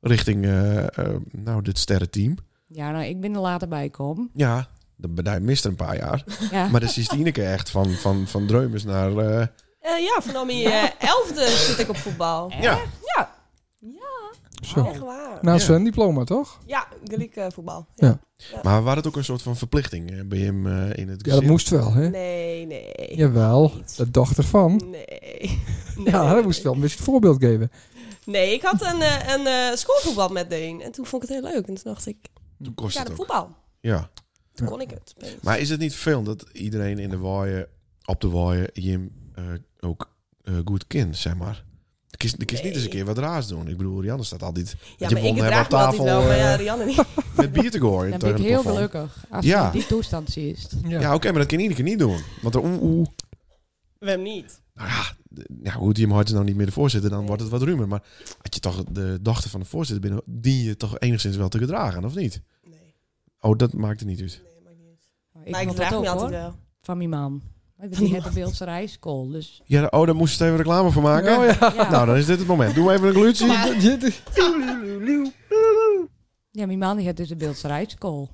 Richting, eh, eh, nou, dit sterrenteam.
Ja, nou, ik ben er later bij gekomen.
Ja, dat bedrijf mist er een paar jaar.
Ja.
Maar dan is Ineke echt van, van, van Dreumers naar... eh,
Eh, ja, vanaf mijn eh, elfde zit ik op voetbal.
ja,
Zo.
Echt waar.
Ja.
Naast zijn diploma, toch?
Ja, Griek eh, voetbal.
Ja.
maar waar het ook een soort van verplichting eh, bij hem eh, in het
Ja, dat
gezin?
moest wel, hè?
Nee, nee.
Jawel,
Niet.
de dochter van.
Nee.
Ja, dat moest wel een beetje het voorbeeld geven.
Nee, ik had een, eh, een eh, schoolvoetbal met Deen. En toen vond ik het heel leuk. En toen dacht ik,
Toen kost
ja,
het
de
ook.
voetbal.
Ja.
Toen
Ja.
kon ik het. opeens.
Maar is het niet veel dat iedereen in de waaien, op de waaien, Jim eh, ook eh, goed kind, zeg maar? Ik kies, ik kies niet eens een keer wat raars doen. Ik bedoel, Rianne staat altijd
ja,
je
maar
won
ik
hem
draag
op
me altijd
tafel,
wel. Maar ja,
eh,
Rianne niet.
met bier te gooien.
Dan ben
tegen
ik
het
heel
plafond.
gelukkig als
Ja.
je in die toestand ziet.
Ja, oké, maar dat kan Ineke niet doen. Want de oeh, oeh,
We hem niet.
nou ja, de- ja, hoe Jim Hartens nou niet meer de voorzitter, dan wordt het wat ruimer. Maar had je toch de dochter van de voorzitter binnen, die je toch enigszins wel te gedragen, of niet?
Nee,
Oh, dat maakt het niet uit.
nee maakt niet uit.
Oh, Ik,
maar ik
vond
draag
dat
me
ook,
altijd eh,
hoor.
wel.
Van mijn mam. Die had de Beeldse rijschool. Dus
Ja, oh, daar moest je even reclame voor maken.
Oh, ja.
ja.
Nou, dan is dit het moment. Doe even een glutje.
Ja, mijn man die had dus de Beeldse rijschool.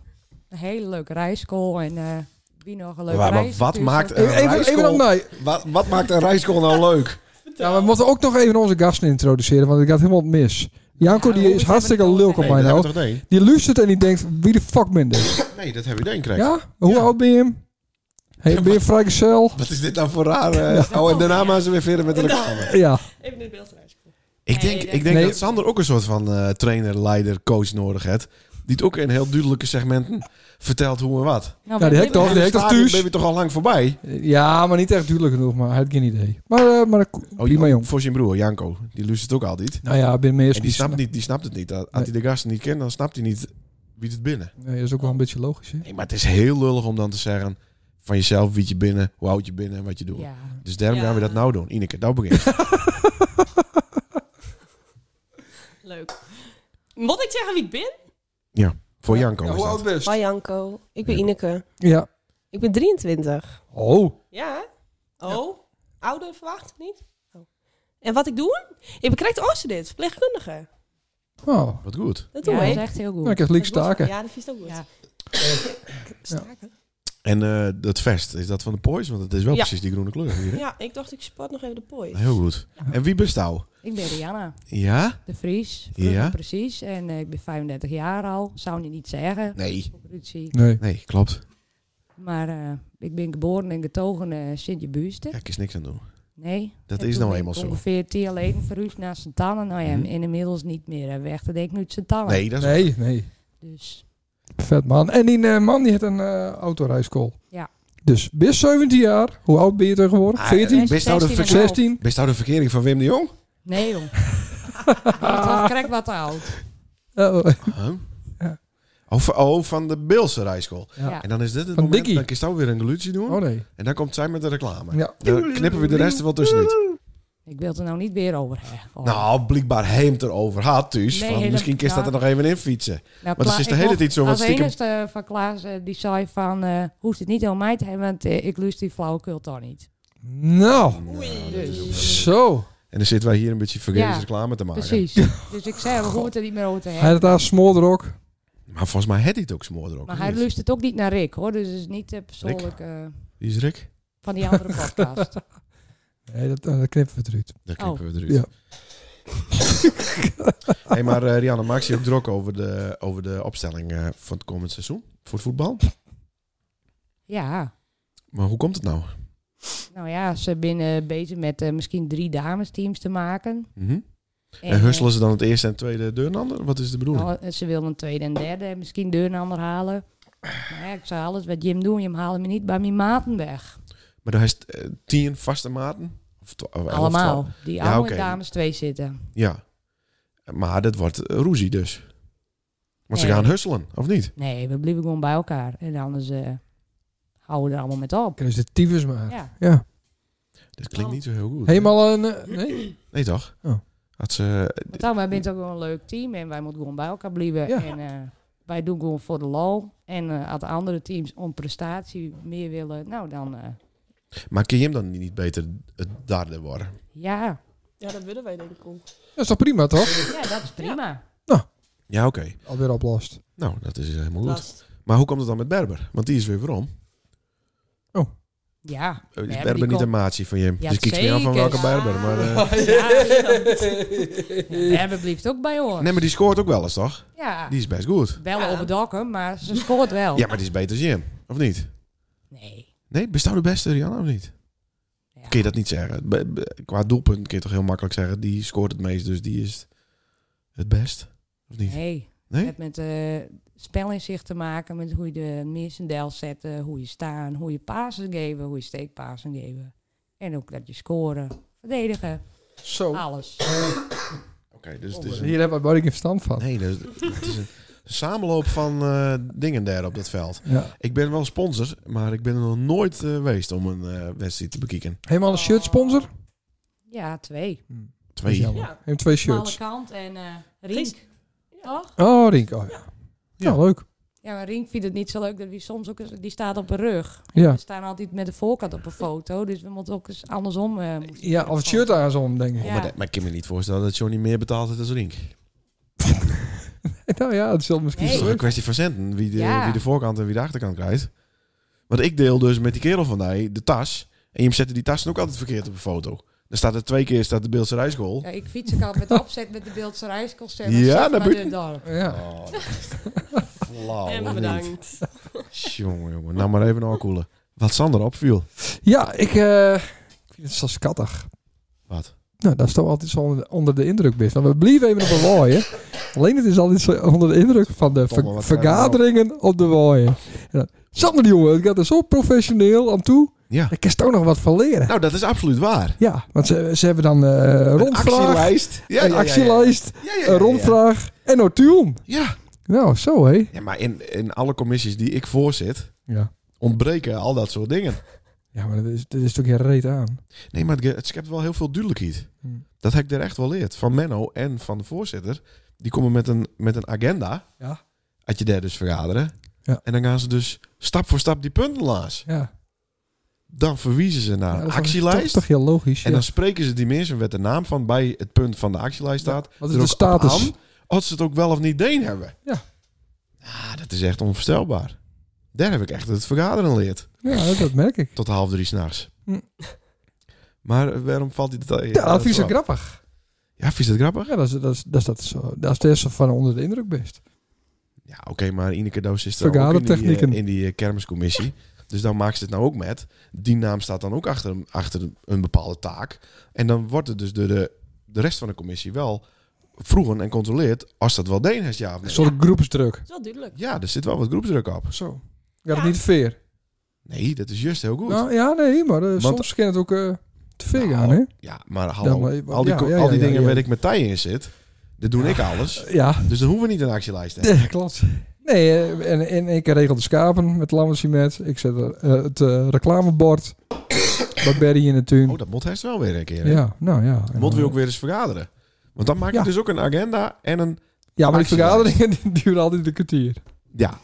Een hele leuke rijschool en eh wie nog een leuke
Maar- maar
reis-
wat
dus
maakt
ook-
een-
Even, even op mij.
Wat, wat maakt een rijschool nou leuk?
Ja, maar we moeten ook nog even onze gasten introduceren, want ik gaat helemaal mis. Janko
Ja,
die
hoe
is
is
hartstikke
dat met
lulk op
Kom
Nee,
mij
dat heb
nou.
ik toch nee.
Die luistert en die denkt, wie de fuck ben dit?
Nee, dat hebben we niet gekregen.
Ja? Hoe
Ja.
oud ben je? hem? Hey, ben je vrijgezel?
Wat is dit nou voor raar? eh? Oh, en daarna maar ze weer verder met de reclame.
Ja.
Even dit beeld eruit.
Ik denk, ik denk
Nee.
dat Sander ook een soort van eh, trainer, leider, coach nodig heeft. Die het ook in heel duidelijke segmenten vertelt hoe en wat.
Nou,
Ja, die
we
heb ik toch.
hebben-
In het
heet
stadion
thuis?
ben je toch al lang voorbij?
Ja, maar niet echt duidelijk genoeg, maar hij had geen idee. Maar, eh, maar dat-
Oh,
prima jong.
Voor zijn broer, Janko. Die luistert ook altijd.
Nou ja, ben meer
En die snapt, niet, die snapt het niet. Als hij de gasten niet kent, dan snapt hij niet wie het binnen.
Nee, dat is ook wel een beetje logisch, hè?
Nee, maar het is heel lullig om dan te zeggen van jezelf wie je binnen, hoe oud je binnen en wat je doet.
Ja.
Dus daarom gaan we
Ja.
dat nou doen. Ineke, nou begin. je.
Leuk. Moet ik zeggen wie ik ben?
Voor Janko is
hoe
dat.
oud best?
Hoi Janko. Ik ben
Ja.
Ineke.
Ja.
Ik ben 23.
Oh.
Ja. hè? Oh. Ouder verwacht niet. Oh. En wat ik doe? Ik bekijk de dit verpleegkundige.
Oh.
Wat goed.
Dat doe
Ja, dat is
ik.
echt heel goed.
Nou, ik heb leek staken.
Ja, dat vind ik ook goed.
Ja.
Staken?
En eh, dat vest, is dat van de Poise? Want het is wel
Ja.
precies die groene kleur hier.
Ja.
hè?
ik dacht ik sport nog even de pooi.
Heel goed. En wie bist jou?
Ik ben Rihanna
Ja?
de Vries.
Ja.
Ja. Precies. En eh, ik ben 35 jaar al. Zou je niet zeggen.
Nee.
Ruzie.
Nee.
Nee, klopt.
Maar eh, ik ben geboren en getogen eh Sintje Buusten.
Ja, ik is niks aan doen.
Nee.
Dat
En
is
toen
nou
ben ik
eenmaal zo.
Ongeveer tien leden verhuisd naar Santannen. Nou ja,
Mhm.
en inmiddels niet meer eh, weg. Dat denk ik nu Santannen.
Nee, dat is
Nee, nee.
Dus
Vet man. En die eh, man die heeft een eh autorijschool.
Ja.
Dus best 17 jaar. Hoe oud ben je tegenwoordig?
Ah,
14?
eh, Best nou de
16,5.
16?
Bist nou de verkering van Wim de Jong?
Nee, joh. Dat krijg ik wat te oud.
Oh,
Huh?
Ja.
Oh, van- oh, van de Beelse rijschool.
Ja.
En dan is dit het
Van
moment,
Dickie.
dan kun je nou weer een geluidje doen.
oh nee.
En dan komt zij met de reclame.
Ja.
Dan knippen we de rest er wel tussenuit.
Ik wil het er nou niet weer over hebben. Oh.
Nou, blijkbaar heemt erover. Haat thuis.
Nee,
van,
helemaal-
misschien kist dat er nog even in fietsen.
Nou,
Want het
Kla-
is de
ik
hele
mocht-
tijd zo wat
Als
stiekem-
enigste van Klaas, eh, die zei van... eh hoeft het niet aan mij te hebben, want eh, ik lust die flauwekul toch niet.
Nou,
Oh,
dus. zo.
En dan zitten wij hier een beetje vergeefs
Ja,
reclame te maken.
Precies. Dus ik zei, we hoeven het er niet meer over te
Hij
hebben.
had daar smoorder ook.
Maar volgens mij had hij het ook smoorder ook.
Maar
of
hij
niet?
lust het ook niet naar Rick, hoor. Dus het is niet eh, persoonlijk eh,
Wie is Rick?
van die andere podcast.
Nee, dat, eh, dat knippen we eruit.
Daar
Oh.
knippen we eruit.
Ja.
hey, maar eh, Rianne, maak je ook druk over de, over de opstelling eh, van het komend seizoen voor het voetbal?
ja,
Maar hoe komt het nou?
nou ja, ze zijn eh, bezig met eh, misschien drie damesteams te maken.
Mhm. En husselen ze dan het eerste en tweede deurnander? Wat is de bedoeling?
Nou, ze wilden een tweede en derde, en misschien deur en ander halen. Maar ja, ik zei alles wat Jim doet, Jim haalde me niet bij mijn maten weg.
Maar daar is eh, tien vaste maten? Of twa- of elf,
Allemaal.
twaalf?
Die
Ja,
oude
oké.
dames twee zitten.
Ja. Maar dat wordt eh, roezie dus. Want ze
Nee.
gaan husselen, of niet?
Nee, we blijven gewoon bij elkaar. En anders eh, houden we er allemaal met op.
Kunnen ze de tyfus maar. Ja.
Ja.
Dat
Oh.
klinkt niet zo heel goed.
Helemaal een... eh, nee?
Nee, toch?
Oh.
Had ze...
Want dan, wij bent ook wel een leuk team en wij moeten gewoon bij elkaar blijven.
Ja.
En eh, wij doen gewoon voor de lol. En eh als de andere teams om prestatie meer willen, nou dan eh,
Maar kun je hem dan niet beter het derde worden?
ja.
Ja, dat willen wij denk ik ook.
Dat is toch prima, toch?
ja, dat is prima.
Ja, oké.
Alweer oplost.
Nou, dat is helemaal goed.
Last.
Maar hoe komt het dan met Berber? Want die is weer weer om.
Ja,
Eh, Is
Ja,
Berber
die
niet een
komt-
maatje van Jim?
Ja,
dus ik kijk niet aan van welke
zeker.
Berber. Maar, eh,
we hebben blijft ook bij ons.
Nee, maar die scoort ook wel eens, toch?
ja,
Die is best goed.
wel
Ja.
overdokken, maar ze scoort wel.
Ja, maar die is beter dan Jim. Of niet?
Nee.
Nee, bestaan de beste, Rihanna, of niet?
Ja.
Kun je dat niet zeggen? Be- be- Qua doelpunt kun je toch heel makkelijk zeggen... die scoort het meest, dus die is het best? Of niet?
Nee.
Nee?
Het met eh spel in zich te maken, met hoe je de missendel zet, eh, hoe je staan, hoe je pasen geven, hoe je steekpasen geven. En ook dat je scoren, verdedigen,
Zo.
Oh.
Oh,
alles.
Oké, dus
Oh,
het is een...
Hier hebben we geen verstand van.
Nee, dus het is een samenloop van eh, dingen daar op dat veld.
Ja.
Ik ben wel sponsor, maar ik ben er nog nooit eh, geweest om een eh, wedstrijd te bekijken.
Helemaal een shirt sponsor?
Ja, twee.
Twee.
Dat is jammer.
Ja.
Heeft twee
Alle
shirts.
kant en eh Rink. Toch?
Oh, Rink. Oh, ja.
Ja.
Nou, leuk.
Ja, maar Rink vindt het niet zo leuk dat we soms ook eens... Die staat op een rug.
Ja.
We staan altijd met de voorkant op een foto, dus we moeten ook eens andersom... eh, moeten
Ja, of het shirt aan is om, denk ik.
Ja.
Maar, dat- maar ik kan me niet voorstellen dat Johnny meer betaald heeft als Rink.
Nou ja, het zal misschien
Het is
Nee.
toch een kwestie van centen, wie de,
Ja.
wie de voorkant en wie de achterkant krijgt. Want ik deel dus met die kerel van mij de tas. En je zette die tassen ook altijd verkeerd op een foto. Dan staat er twee keer staat de Beeldse Rijschool.
Ja, ik fiets ook altijd met opzet met de Beeldse reisconcert.
Ja,
Ja,
dat
dat
moet-
ben dorp.
Ja.
Oh, dat is flauw.
en
of niet?
bedankt.
Jongen, jongen. Nou maar even afkoelen. Wat Sander opviel.
Ja, ik, eh, ik vind het zo schattig.
Wat?
Nou, dat is toch altijd zo onder- onder de indruk best. Want we blijven even op de waaien. Alleen het is altijd zo onder de indruk van de ver-
Tom, wat
vergaderingen op de waaien. En dan, Sander, jongen, het gaat er zo professioneel aan toe.
Ja.
Ik kan er ook nog wat van leren.
Nou, dat is absoluut waar.
Ja, want ze, ze hebben dan eh,
Een
rondvraag,
actielijst. Ja,
een
ja, ja, ja.
actielijst,
Ja, ja, ja,
een rondvraag en notulen.
Ja, ja.
Nou, zo hé.
Ja, maar in, in alle commissies die ik voorzit,
Ja.
ontbreken al dat soort dingen.
Ja, maar dat is, dat is toch geen reet aan.
Nee, maar het, ge- het schept wel heel veel duidelijkheid.
Hmm.
Dat heb ik er echt wel leerd. Van Menno en van de voorzitter. Die komen met een, met een agenda.
Ja.
Uit je daar dus vergaderen.
Ja.
En dan gaan ze dus stap voor stap die punten langs.
Ja.
Dan verwijzen ze naar
Ja,
een
dat is
actielijst.
toch- toch heel logisch.
En
ja.
dan spreken ze die mensen met de naam van bij het punt van de actielijst staat.
Wat
er
is de
ook op
status?
aan Of ze het ook wel of niet deen hebben.
Ja.
Ah, dat is echt onvoorstelbaar. Daar heb ik echt het vergaderen geleerd.
Ja, dat- dat merk ik.
Tot half drie s'nachts.
Hm.
Maar eh, waarom valt die detail?
Ja, dat vind ik
is
zo grappig.
Ja, vind je dat grappig?
Ja, dat is, dat is, dat is, dat is, zo- dat is de eerste van onder de indruk best.
Ja, oké, maar Ineke Doos is er ook in die,
Vergadertechnieken.
eh, in die eh, kermiscommissie. Dus dan maakt ze het nou ook met. Die naam staat dan ook achter, een- achter een bepaalde taak. En dan wordt het dus door de, de rest van de commissie wel vroegen en controleerd... als dat wel deen is, ja of
Een
nee.
soort groepsdruk.
Dat is wel duidelijk.
Ja, er zit wel wat groepsdruk op.
Zo. Ja, dat niet veer.
Nee, dat is juist heel goed. Nou.
Nou, ja, nee, maar eh, soms kan het ook eh, te veer gaan, hè?
Ja, maar
Ja,
hallo,
maar-
al die,
ja,
co-
ja, ja,
al die
ja,
dingen
ja.
waar ik met Thij in zit... dat doe ik alles.
Ja,
Dus dan hoeven we niet een actielijst te hebben.
ja, klopt. Nee, eh, en, en ik regel de schapen met lammercimet. Ik zet er, eh, het eh, reclamebord bij Berry in de tuin.
Oh, dat mot heeft wel weer een keer. hè?
ja, nou ja. En,
Mot
eh,
wil ook weer eens vergaderen. Want dan maak je
Ja.
dus ook een agenda en een
Ja, maar die
actielijst.
vergaderingen die duren altijd een kwartier.
Ja.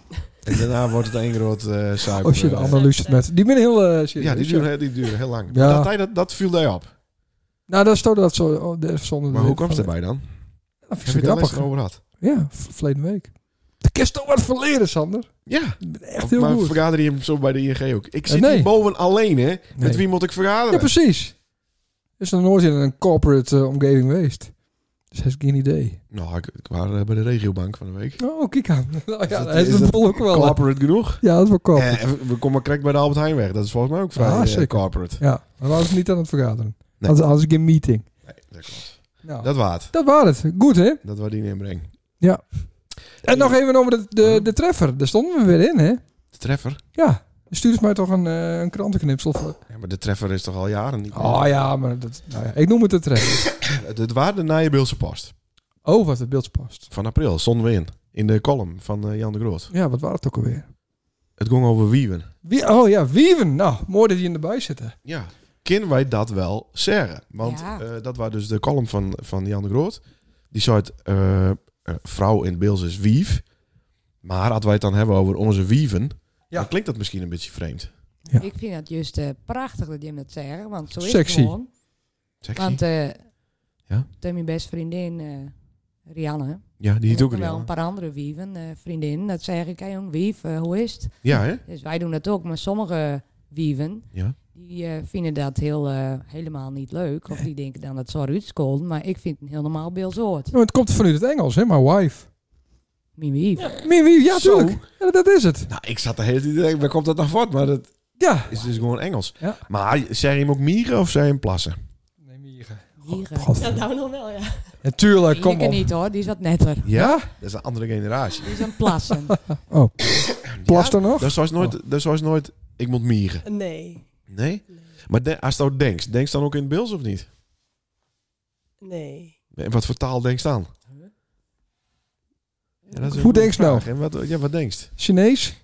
En daarna wordt het één groot eh suiker.
Als je de
eh,
ander luistert met. Die ben heel... eh, serieus,
Ja, die duren, die duren heel lang.
Ja.
Maar Dat, hij- dat, dat viel hij op.
Nou, dat stoot dat zo. Oh, dat is zonder
Maar hoe kwam het
dat?
erbij dan?
Dat
Heb
Ah, vind ik zo
je het daar
grappig.
over had?
Ja, v- verleden week. De kerst toch wat verleren, Sander.
Ja,
Ik ben Echt heel
maar
goed.
vergaderde je hem zo bij de ING ook. Ik
Eh,
zit
nee.
hier boven alleen, hè.
Nee.
Met wie moet ik
Ja,
vergaderen?
precies. Is nog nooit in een corporate eh, omgeving geweest. Dus hij heeft geen idee.
nou, ik, ik was eh, bij de regiobank van de week.
Oh, kijk aan. Nou ja,
dat-
hij
is
is de
dat
boel ook wel. hè.
Corporate genoeg.
Ja, dat is wel corporate.
Eh, we komen correct bij de Albert Heijn weg. Dat is volgens mij ook vrij
Ah,
eh,
zeker.
corporate.
Ja, maar we waren ze niet aan het vergaderen.
Nee.
Anders, anders geen meeting.
Nee, dat klopt.
Nou, dat,
Dat waard.
was het. Goed, hè?
Dat waar die inbreng.
En nog even over de, de, de treffer. Daar stonden we weer in, hè?
De treffer?
Ja. Stuur eens mij toch een, eh, een krantenknipsel voor.
Ja, maar de treffer is toch al jaren niet meer?
Oh ja, maar dat, nou ja, ik noem het de treffer.
Het het waren de Nijenbeeldse post.
Oh, wat het beeld past.
Van april stonden we in. In de column van eh, Jan de Groot.
Ja, wat was het ook alweer?
Het ging over wieven.
Wie, oh ja, Wieven. Nou, mooi dat die erbij zitten.
Ja. Kunnen wij dat wel zeggen? Want
Ja.
eh, dat was dus de column van, van Jan de Groot. Die zei het, eh, eh, vrouw in het Beels is wief. Maar als wij het dan hebben over onze wieven,
Ja.
dan klinkt dat misschien een beetje vreemd.
Ja.
Ik vind dat juist eh, prachtig dat je hem dat zegt, want zo is
Sexy.
het gewoon.
Sexy.
Want eh
Ja?
toen mijn beste vriendin eh, Rianne,
ja, die
en
doet ook
wel
niet.
een paar andere wieven, eh vriendinnen, dat zeg ik, hey, jong, wief, eh, hoe is het?
Ja, hè?
Dus wij doen dat ook, maar sommige wieven,
Ja.
die eh, vinden dat heel, eh, helemaal niet leuk. Of die denken dan dat zo uitskolen, maar ik vind het een heel normaal beeldsoort.
Ja, maar Nou, het komt vanuit het Engels, hè? My wife.
Mijn wief.
Meer wie? Ja,
Zo.
tuurlijk. Ja, dat is het.
Nou, ik zat de hele tijd te denken, waar komt dat nou voort? Maar dat
Ja.
is dus gewoon Engels.
Ja.
Maar zeg je hem ook mieren of zei je hem plassen?
Nee, Mieren.
Mieren.
Ja, nou nog wel, ja.
Natuurlijk,
Die
kom
ken
op.
niet hoor, die is wat netter.
Ja? Dat is een andere generatie.
Die is een plassen.
Plast er nog?
Dat was nooit,
Oh.
dat was nooit ik moet mieren.
Nee.
Nee? Maar de- als je nou denkt, denk je dan ook in het Beels of niet?
Nee.
En wat voor taal denk je dan? Ja, dat is een
Hoe
goede
denk je nou?
vraag. En wat, ja, wat denk je?
Chinees?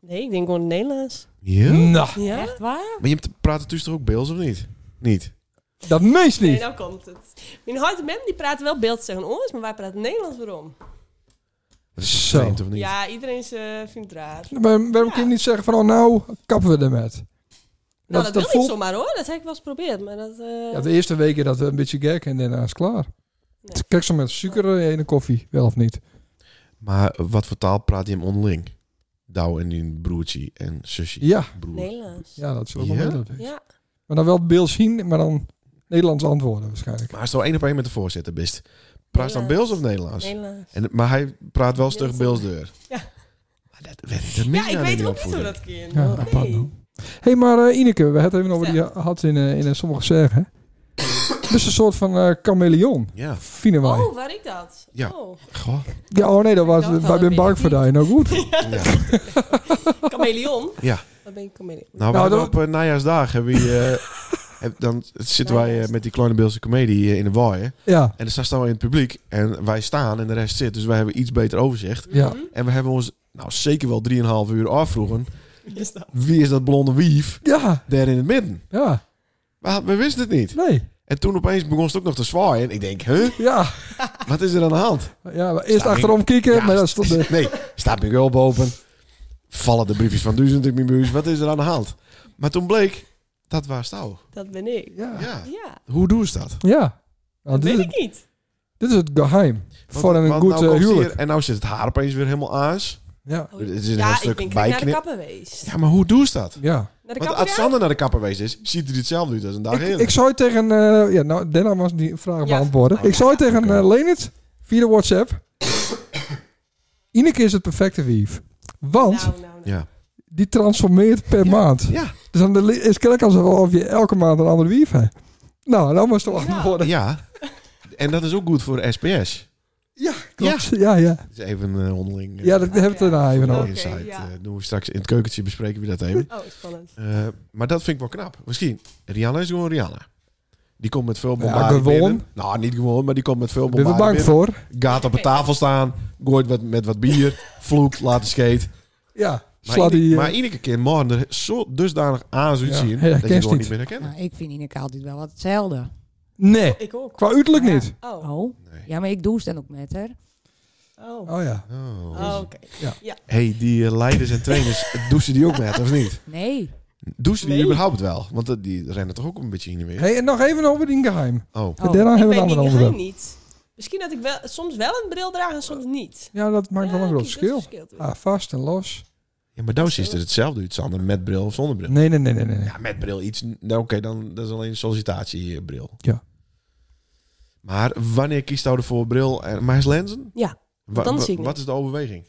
Nee, ik denk gewoon Nederlands.
Ja?
Nou,
Ja?
Echt waar?
Maar je praat tussen toch ook Beels of niet? Niet.
dat meest
Nee,
niet.
nou komt het. Mijn hart en mem die praten wel beeld tegen ons, maar wij praten Nederlands waarom?
Dat is toch
Zo.
vreemd of niet?
Ja, iedereen is, eh, vindt het raar.
Maar Waarom kun je
Ja.
niet zeggen van, oh nou, kappen we ermee? Dat,
Nou, dat, wil
voelt-
niet zomaar hoor. Dat heb ik wel eens geprobeerd, maar dat... eh,
Ja, de eerste weken dat we een beetje gek en daarna is het klaar.
Nee.
Kijk zo met suiker in de koffie, wel of niet?
Maar wat voor taal praat je hem onderling? Douw en die broertje en zusje.
Ja,
Broer.
Nederlands. Ja.
ja dat zullen we
Ja?
wel weten. Maar dan wel beeld zien, maar dan Nederlands antwoorden waarschijnlijk.
Maar als je nou één op één met de voorzitter bent, praat je dan Beels of Nederlands?
Nederlands.
En, maar hij praat wel stug
Beels.
Beelsdeur.
Ja.
Maar dat, dat, dat mis
Ja,
je
ik
nou
weet
die
ook niet hoe
opvoeding.
dat kind.
Ja,
Nee.
apart, hoor. hey, maar eh, Ineke, we hadden het even over die had in, eh, in eh, sommige zeggen. Dus een soort van eh chameleon,
Ja.
vinden wij.
Oh, waar ik dat?
Ja.
Oh.
Goh.
Ja, oh nee, dat was,
dacht al,
wij
dat
zijn
weet
bang
ik
voor
niet.
die. Nou goed.
Ja.
Chameleon.
Ja.
Dan ben ik chameleon.
Nou, we
Nou,
hebben
dat-
op eh, najaarsdag hebben we, eh, heb- dan zitten wij eh, met die kleine Beelse comedie eh, in de waaien.
Ja,
En dan staan we in het publiek en wij staan en de rest zit. Dus wij hebben iets beter overzicht.
Mhm.
ja.
En we hebben ons nou zeker wel 3,5 uur afvroegen.
Wie is Dus dat?
Wie is dat blonde wief
Ja,
daar in het midden?
ja.
Maar we wisten het niet.
Nee.
En toen opeens begon ze ook nog te zwaaien. En ik denk, huh?
Ja.
Wat is er aan de hand?
ja maar eerst
Staat
achterom kijken, maar dat stond de...
Nee, staat mijn gulp open. Vallen de briefjes van duizend in mijn buurt. Wat is er aan de hand? Maar toen bleek, dat was touw.
Dat ben ik.
Ja.
Ja.
Ja,
Hoe doen ze dat?
Ja. Nou,
dat
dit,
weet
is,
ik niet.
dit is het geheim.
Want-
voor een
want
goed
nou
eh,
komt ze
huwelijk.
hier en nou zit het haar opeens weer helemaal aans.
Ja.
Oh,
Het is een heel
ja, ik ben
stuk
ik naar de
bijknip.
kapper geweest.
Ja, maar hoe doen ze dat?
Ja.
Naar de
Want
kapper
als
gaan?
Sander naar de kapper geweest is, ziet hij hetzelfde uit als een dag
Ik,
eerder.
ik zou tegen... eh, ja, nou, Denna was die vraag
Ja.
beantwoorden.
Oh,
Ik zou tegen eh, Leonard via de WhatsApp... Ineke is het perfecte wief. Want
Nou, nou, nou.
Ja.
die transformeert per maand.
Ja,
Dus dan li- is het alsof of je elke maand een andere wief hebt. Nou, dan was het toch
Ja.
antwoorden.
ja. En dat is ook goed voor SPS.
Ja, klopt. Ja, ja.
Dat is even eh, onderling. eh,
Ja, dat hebben we het daarna even
een
over.
Oké,
insight.
ja.
Eh, doen we straks in het keukentje bespreken we dat even.
Oh, spannend.
Eh, maar dat vind ik wel knap. Misschien. Rihanna is gewoon Rihanna. Die komt met veel
Ja,
bombardie
gewoon.
binnen. Nou, niet gewoon, maar die komt met veel
Ben we
bombardie
bang
binnen.
voor?
Gaat op een tafel staan, gooit wat, met wat bier, vloekt, laat de skate.
Ja.
Maar,
Sla
ieder-
die... eh,
maar iedere keer morgen er zo dusdanig aan zoiets
Ja,
zien
hij
dat je
herkent
gewoon niet
niet.
meer herkent.
Nou, ik vind Ineke altijd wel wat hetzelfde.
nee.
Ik ook.
Qua uiterlijk
Ja.
niet.
Oh. Oh.
Oh,
Nee.
ja, maar ik douche dan ook met haar.
Oh,
Oh ja.
Oh.
oké.
Hey, die eh, leiders en trainers, douchen die ook met of niet?
Nee,
Douchen die
Nee.
überhaupt wel? Want eh, die rennen toch ook een beetje heen en weer.
Hey, en nog even over die geheim.
Oh,
Oh.
Daarna
Ik
Ah, hebben we
weet
een
niet,
ander
die geheim
onderwerp.
niet. Misschien dat ik wel, soms wel een bril draag en soms niet.
Ja, dat maakt wel
Ja,
een groot
kijk, dat
verschil.
verschilt weer.
Ah, vast en los.
ja, maar douchen is er hetzelfde uit, Sander, met bril of zonder bril.
Nee, nee, nee, nee. nee.
Ja, met bril iets. Nou, oké, dan dat is alleen een sollicitatiebril.
Ja.
Maar wanneer kiest jou ervoor bril en maar is lenzen?
Ja,
Wa-
dan
wa-
zie ik niet.
Wat is de overweging?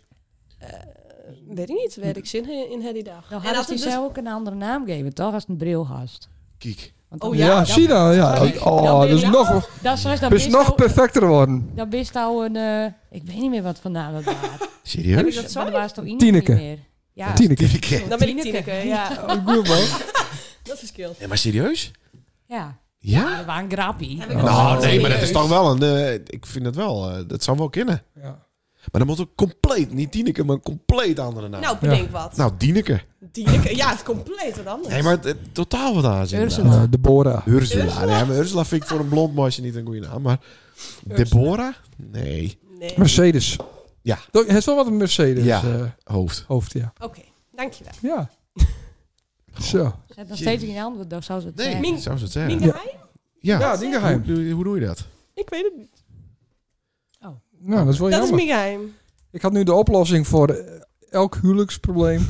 Weet ik niet, waar ik zin in, in die dag.
dan
en
had
als
ze
het
dus...
Nou, dus
ook een andere naam geven, toch? Als het een bril had.
Kiek.
Want
Oh
dan-
ja,
ja,
dan-
China. Ja.
dan- dan
Oh,
weer-
dat is
ja.
nog,
Dat is, dat
dat is
is
Dus nog
nog...
perfecter worden.
Dat is nou een... eh, ik weet niet meer wat vandaan dat was.
Serieus?
ik dat
Maar dat was toch iemand
Tineke.
niet meer? Ja.
Tineke.
Dan ben ik Tineke, ja.
Oh, goed, man.
Dat verschilt.
Nee, maar serieus?
Ja.
Ja?
Dat was een grappie.
Nou,
Oh,
nee, maar dat is
serieus.
toch wel een... eh, ik vind dat wel... eh, dat zou wel kennen.
Ja.
Maar dan moet ook compleet... Niet Tineke, maar een compleet andere naam.
Nou, bedenk wat.
Nou, Dieneke.
Tineke, ja, het is compleet wat anders.
Nee, maar het, het- totaal wat aan zit.
Ursula.
Eh, de Bora.
Ursula. Nee, maar Ursula vind ik voor een blond meisje niet een goede naam. Maar Deborah? Nee.
Nee. Oké,
Mercedes.
Ja.
Dat- Het is wel wat een Mercedes
Ja.
eh,
Hoofd.
hoofd, ja.
dankjewel.
Ja. Zo.
Ze had nog steeds geen antwoord, dan zou ze het
Nee,
zeggen.
Ming-
zou ze het zeggen.
Minke
Ja.
Heijn?
Ja,
Ja, Dingeheim.
Hoe, hoe doe je dat?
Ik weet het niet.
Nou, dat is wel
Dat is
jammer.
Minke Heijn.
Ik had nu de oplossing voor eh, elk huwelijksprobleem.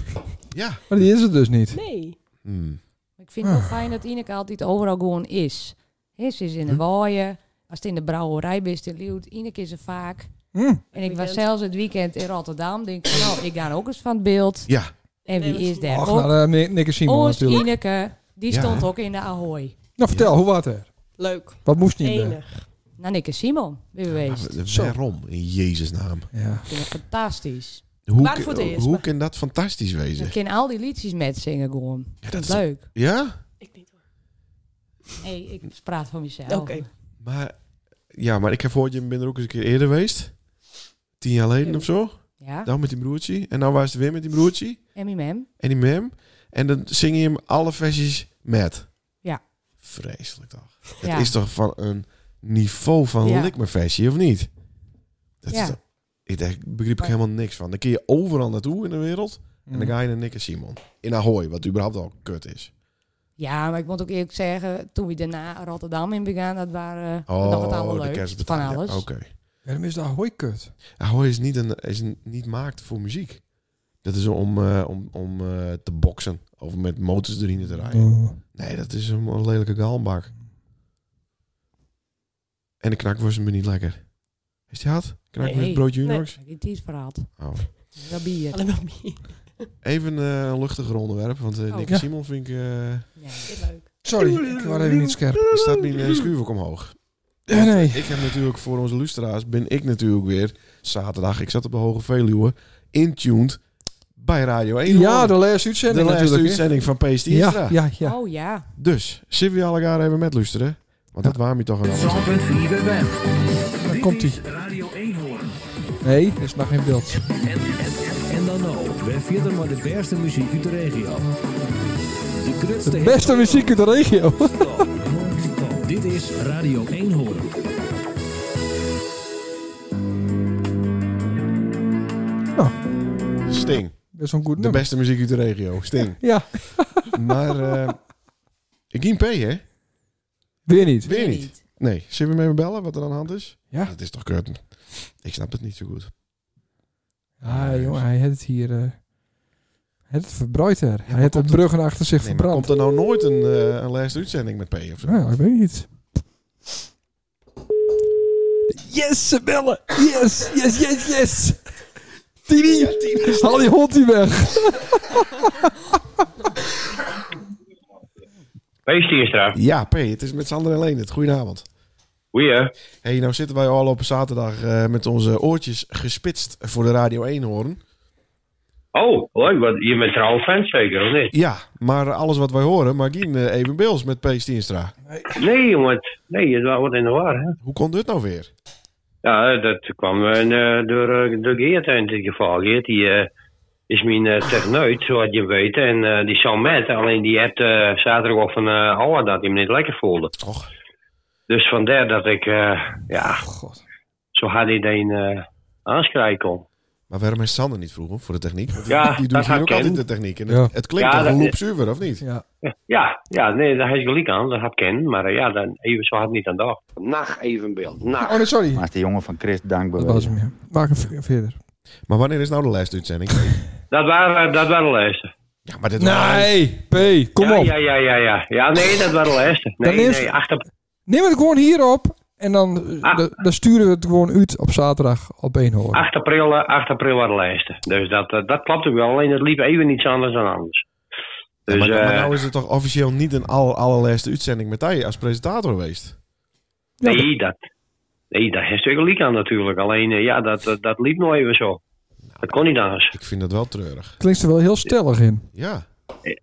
Ja.
Maar die is het dus niet.
Nee.
Hmm.
Ik vind het wel fijn dat Ineke altijd overal gewoon is. He, ze is in de waaien. Als het in de brouwerij bent, in Lieuwt. Ineke is er vaak.
Hm.
En ik was
Weekend.
zelfs het weekend in Rotterdam. Denk ik, van, nou, ik ga ook eens van het beeld.
Ja.
En
Nee,
wie
dat
is
is-
daar
Ach,
ook?
nou, uh, Nikke Simon
Ons
natuurlijk.
Ineke, die
Ja.
stond ook in de Ahoy.
Nou, vertel, hoe was het er?
Leuk.
Wat moest niet? eh?
Enig.
Nou, Nikke Simon, weer geweest. Ik
Maar Ah, Waarom? In Jezus naam.
eh? Ja.
vind het fantastisch.
Hoe,
Waar
kan-
voor het eerst,
hoe
maar-
kan dat fantastisch
Ik
wezen?
ken al die liedjes met zingen gewoon. Ik
dat
vind het
is-
leuk.
Ja?
Ik niet hoor.
Nee, ik praat van mezelf.
Oké.
Maar, ja, maar ik heb gehoord, je bent er ook eens een keer eerder geweest. Tien jaar geleden of zo.
Ja,
Dan met die broertje. En nou was het weer met die broertje.
Eminem.
En die mem. En dan zing je hem alle versies met.
Ja.
Vreselijk toch?
Ja.
Het is toch van een niveau van
Ja.
lik mijn versie, of niet? Dat
Ja.
is toch, ik daar begreep ik
Maar-
helemaal niks van. Dan kun je overal naartoe in de wereld. En
Hm. Mhm.
dan ga je naar Nick en Simon. In Ahoy, wat überhaupt al kut is.
Ja, maar ik moet ook eerlijk zeggen, toen we daarna Rotterdam in begaan, dat waren eh, nog wat allemaal
Oh, de
leuk. Van
kerstbetaling.
alles.
Ja, Oké.
Ja, dan is dat hooikut.
Ahoy is niet, een, is een- niet maakt voor muziek. Dat is om, eh, om, om eh, te boksen. Of met motors erin te
Oh.
rijden. Nee, dat is een, een lelijke galmbak. En de knak was me niet lekker. Is die hard? Knak
Nee.
met het broodje Unox?
Ik heb het iets verhaald.
Oh.
Dat bier.
Alleen maar meer.
Even eh, een luchtiger onderwerp, want eh
Oh.
Nick
Ja.
Simon vind ik... eh,
Nee.
Dit leuk.
Sorry, ik was even niet scherp.
er staat mijn eh, schuif ook omhoog. eh,
Ja, nee.
Ik heb natuurlijk voor onze luisteraars ben ik natuurlijk weer zaterdag, ik zat op de Hoge Veluwe, intuned bij Radio 1.
Ja, de
de,
laatste uitzending
laatste
natuurlijk. hè?
uitzending van PST.
Ja, ja, ja.
Oh ja.
Dus, zullen we alle elkaar even met luisteren? Want dat waren we toch een ander.
Daar komt ie.
Radio 1 horen.
Nee, er is nog geen beeld.
En dan nou, wij vieren maar de beste muziek uit de regio. De grootste
De beste muziek uit de regio.
Dit is Radio 1 horen.
Sting,
Best wel een goed
de
nummer.
beste muziek uit de regio. Sting.
Ja,
Maar eh Geen P, hè?
weer niet.
Weer niet. Nee. Zullen we hem even bellen wat er aan de hand is?
Ja.
Dat is toch kut. Ik snap het niet zo goed.
Ah, jongen, hij had het hier... eh, hij had het verbruid er. hij had de
komt-
bruggen achter zich
Nee, maar
verbrand.
komt er nou nooit een, eh een laatste uitzending met P of zo?
Nou, ik weet niet. Yes, ze bellen! Yes, yes, yes, yes! Tini! Haal die hond hier weg!
Wees Tierstra.
Ja, P, het is met Sander en Leendert. Goedenavond.
Goeie. hè?
hey, nou zitten wij al op een zaterdag eh, met onze oortjes gespitst voor de Radio 1 horen.
Oh, leuk. Wat, je bent er al fan zeker, of niet?
Ja, maar alles wat wij horen, maar geen eh, even beels met P. Stienstra.
Nee, jongen. Nee, je wordt in de war, hè?
Hoe kon dit nou weer?
Ja, dat kwam eh, door, eh, door Geert in dit geval. Geert, die eh, is mijn eh, techneut, zoals je weet. En eh, die zal met. Alleen die had eh, zaterdag al van eh Howard dat hij hem niet lekker voelde.
Och.
Dus vandaar dat ik, eh, ja,
God.
zo hard hij een eh aanschrijven kon.
Maar waarom is Sander niet vroeger voor de techniek? Want die,
Ja,
die doet
dat
hier
had
ook
ik
altijd de
ken.
techniek. En
Ja.
het, het klinkt
Ja,
als
dat-
een loop zuiver, of niet?
Ja.
Ja, ja, nee, daar heb je gelijk aan. Dat heb ik ken. Maar eh, ja, dan, even zo hard niet aan de dag.
Nacht evenbeeld.
Nou.
Oh, nee, sorry.
Maar is de jongen van Christ dankbaar.
Dat was hem, ja. Maak hem ver- verder.
Maar wanneer is nou de laatste uitzending?
Dat waren, dat waren de lijsten.
Ja, maar dit
Nee, P, kom
ja,
op.
Ja, ja, ja, ja. Ja, nee, dat waren de eerste. Nee,
Dan is-
nee, achter...
Neem het gewoon hierop en dan, eh,
Ah.
dan- dan sturen we het gewoon uit op zaterdag op 1 horen.
8 april, eh, 8 april waren de lijsten. Dus dat, eh, dat klapte wel. Alleen het liep even iets anders dan anders.
Ja,
Dus,
maar, maar
eh,
nou is het toch officieel niet een aller, allerlaatste uitzending met hij als presentator geweest?
Ja,
nee, dat, nee, dat heeft natuurlijk aan natuurlijk. Alleen, eh, ja, dat, dat, dat liep nog even zo. Dat kon niet anders.
Ik vind dat wel treurig.
Klinkt er wel heel stellig in.
Ja.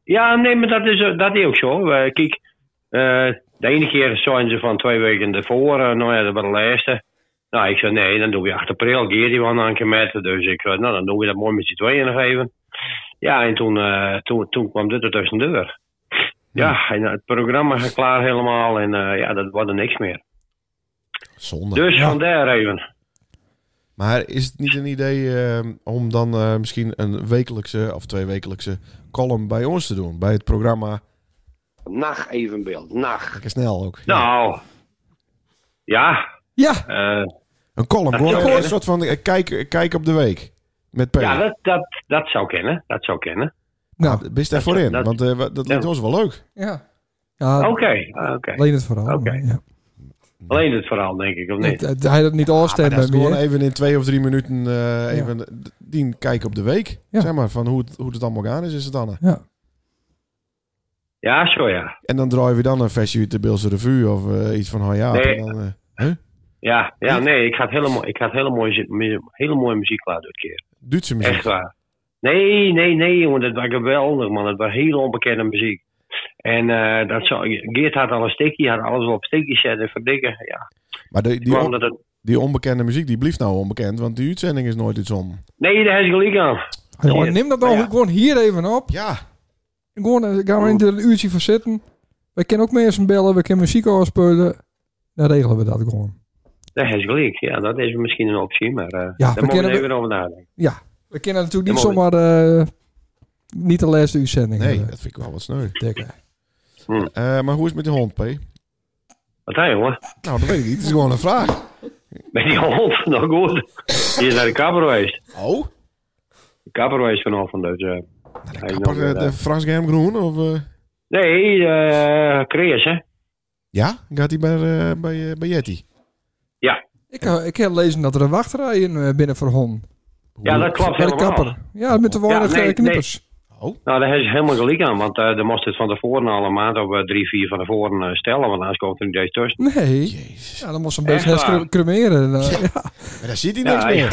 Ja, nee, maar dat is, eh, dat is ook zo. Eh, kijk, eh, de ene keer zijn ze van twee weken ervoor. eh, nou ja, dat was de laatste. Nou, ik zei, nee, dan doen we 8 april. Geert die wel een keer met. Dus ik zei, nou, dan doen we dat mooi met z'n tweeën nog even. Ja, en toen, eh, toen, toen kwam dit er tussendoor. Ja, en het programma ging klaar helemaal. En eh, ja, dat was er niks meer.
Zonde.
Dus vandaar even.
Maar is het niet een idee eh, om dan eh, misschien een wekelijkse of twee wekelijkse column bij ons te doen? Bij het programma
Nacht evenbeeld, nacht.
Lekker Snel ook. Ja.
Nou, ja.
Ja,
eh,
Een column,
Dat
gewoon
zou
een, een
kunnen.
soort van eh, kijk, kijk op de week. Met Peter.
ja, dat, dat, dat zou kennen. Dat zou kennen.
nou,
Ah, Bist daarvoor in?
dat-
want eh, wa- dat lijkt
ja.
ons wel leuk.
ja. ja
Oké, ah, oké.
Alleen het verhaal.
Oké.
maar ja.
Alleen het verhaal, denk ik, of
Het-
niet?
het- Hij dat niet
Maar dat
afstemmen
is gewoon
meer.
even in twee of drie minuten eh, even d- die kijk op de week.
Ja.
Zeg maar, van hoe het, hoe het allemaal gaan is, is het dan. eh.
Ja.
Ja, zo ja.
En dan draaien we dan een versie uit de Beelse Revue of eh, iets van oh ja.
Nee.
en dan, eh,
Ja, ja nee, ik ga het hele, mooi- ik ga het hele, mooie, zi- mu- hele mooie muziek klaar dit keer.
Duitse muziek.
Echt waar. Nee, nee, nee, jongen, dat was geweldig, man. Dat was hele onbekende muziek. En eh, dat zou, Geert had al een stikkie, had alles wel op stikjes zetten en verdikken. Ja.
Maar die, die,
Maar
on-
omdat het,
die onbekende muziek, die blijft nou onbekend, want die uitzending is nooit iets om.
nee, daar heb je gelijk aan.
Ah, jongen, neem dat dan
Ja.
gewoon hier even op.
Ja,
Gewoon, eh, gaan we er een uurtje voor zitten. We kunnen ook mensen bellen, we kunnen muziek afspelen. Dan regelen we dat gewoon.
Daar heb je gelijk. Ja, dat is misschien een optie, maar eh
Ja, we
daar moet
kennen
je
de-
even over nadenken.
We kunnen natuurlijk niet
Ja, mooi.
zomaar eh, niet de laatste uitzending
nee,
eh,
dat vind ik wel wat sneu.
tikken.
Eh, maar hoe is het met die hond, P?
Wat hij, jongen?
Nou, dat weet ik niet. Het is gewoon een vraag.
Met die hond, nou goed. Die is naar de kapper geweest.
Oh?
De kapper geweest vanochtend, dus... eh,
De
hij is
kapper,
nog weer
eh, de
daar.
Frans Germgroen of... eh,
Nee, eh Chris, hè?
Ja, gaat hij bij, eh, bij, eh, bij Yeti?
Ik, eh, ik heb lezen dat er een wachtrij in eh, binnen voor Hon.
Ja, dat klopt
Bij de
helemaal.
kapper. Ja, met de weinig
Ja, nee,
eh, knippers.
Nou, daar heb je helemaal gelijk aan, want eh dan moest het van tevoren al een maand of eh, drie, vier van tevoren eh, stellen, want anders komt er niet eens tussen.
Nee.
Jezus.
Ja, dan moest ze een
Echt
beetje
waar?
hercremeren. Nou, ja.
Maar daar ziet hij
Ja,
niks
ja.
meer.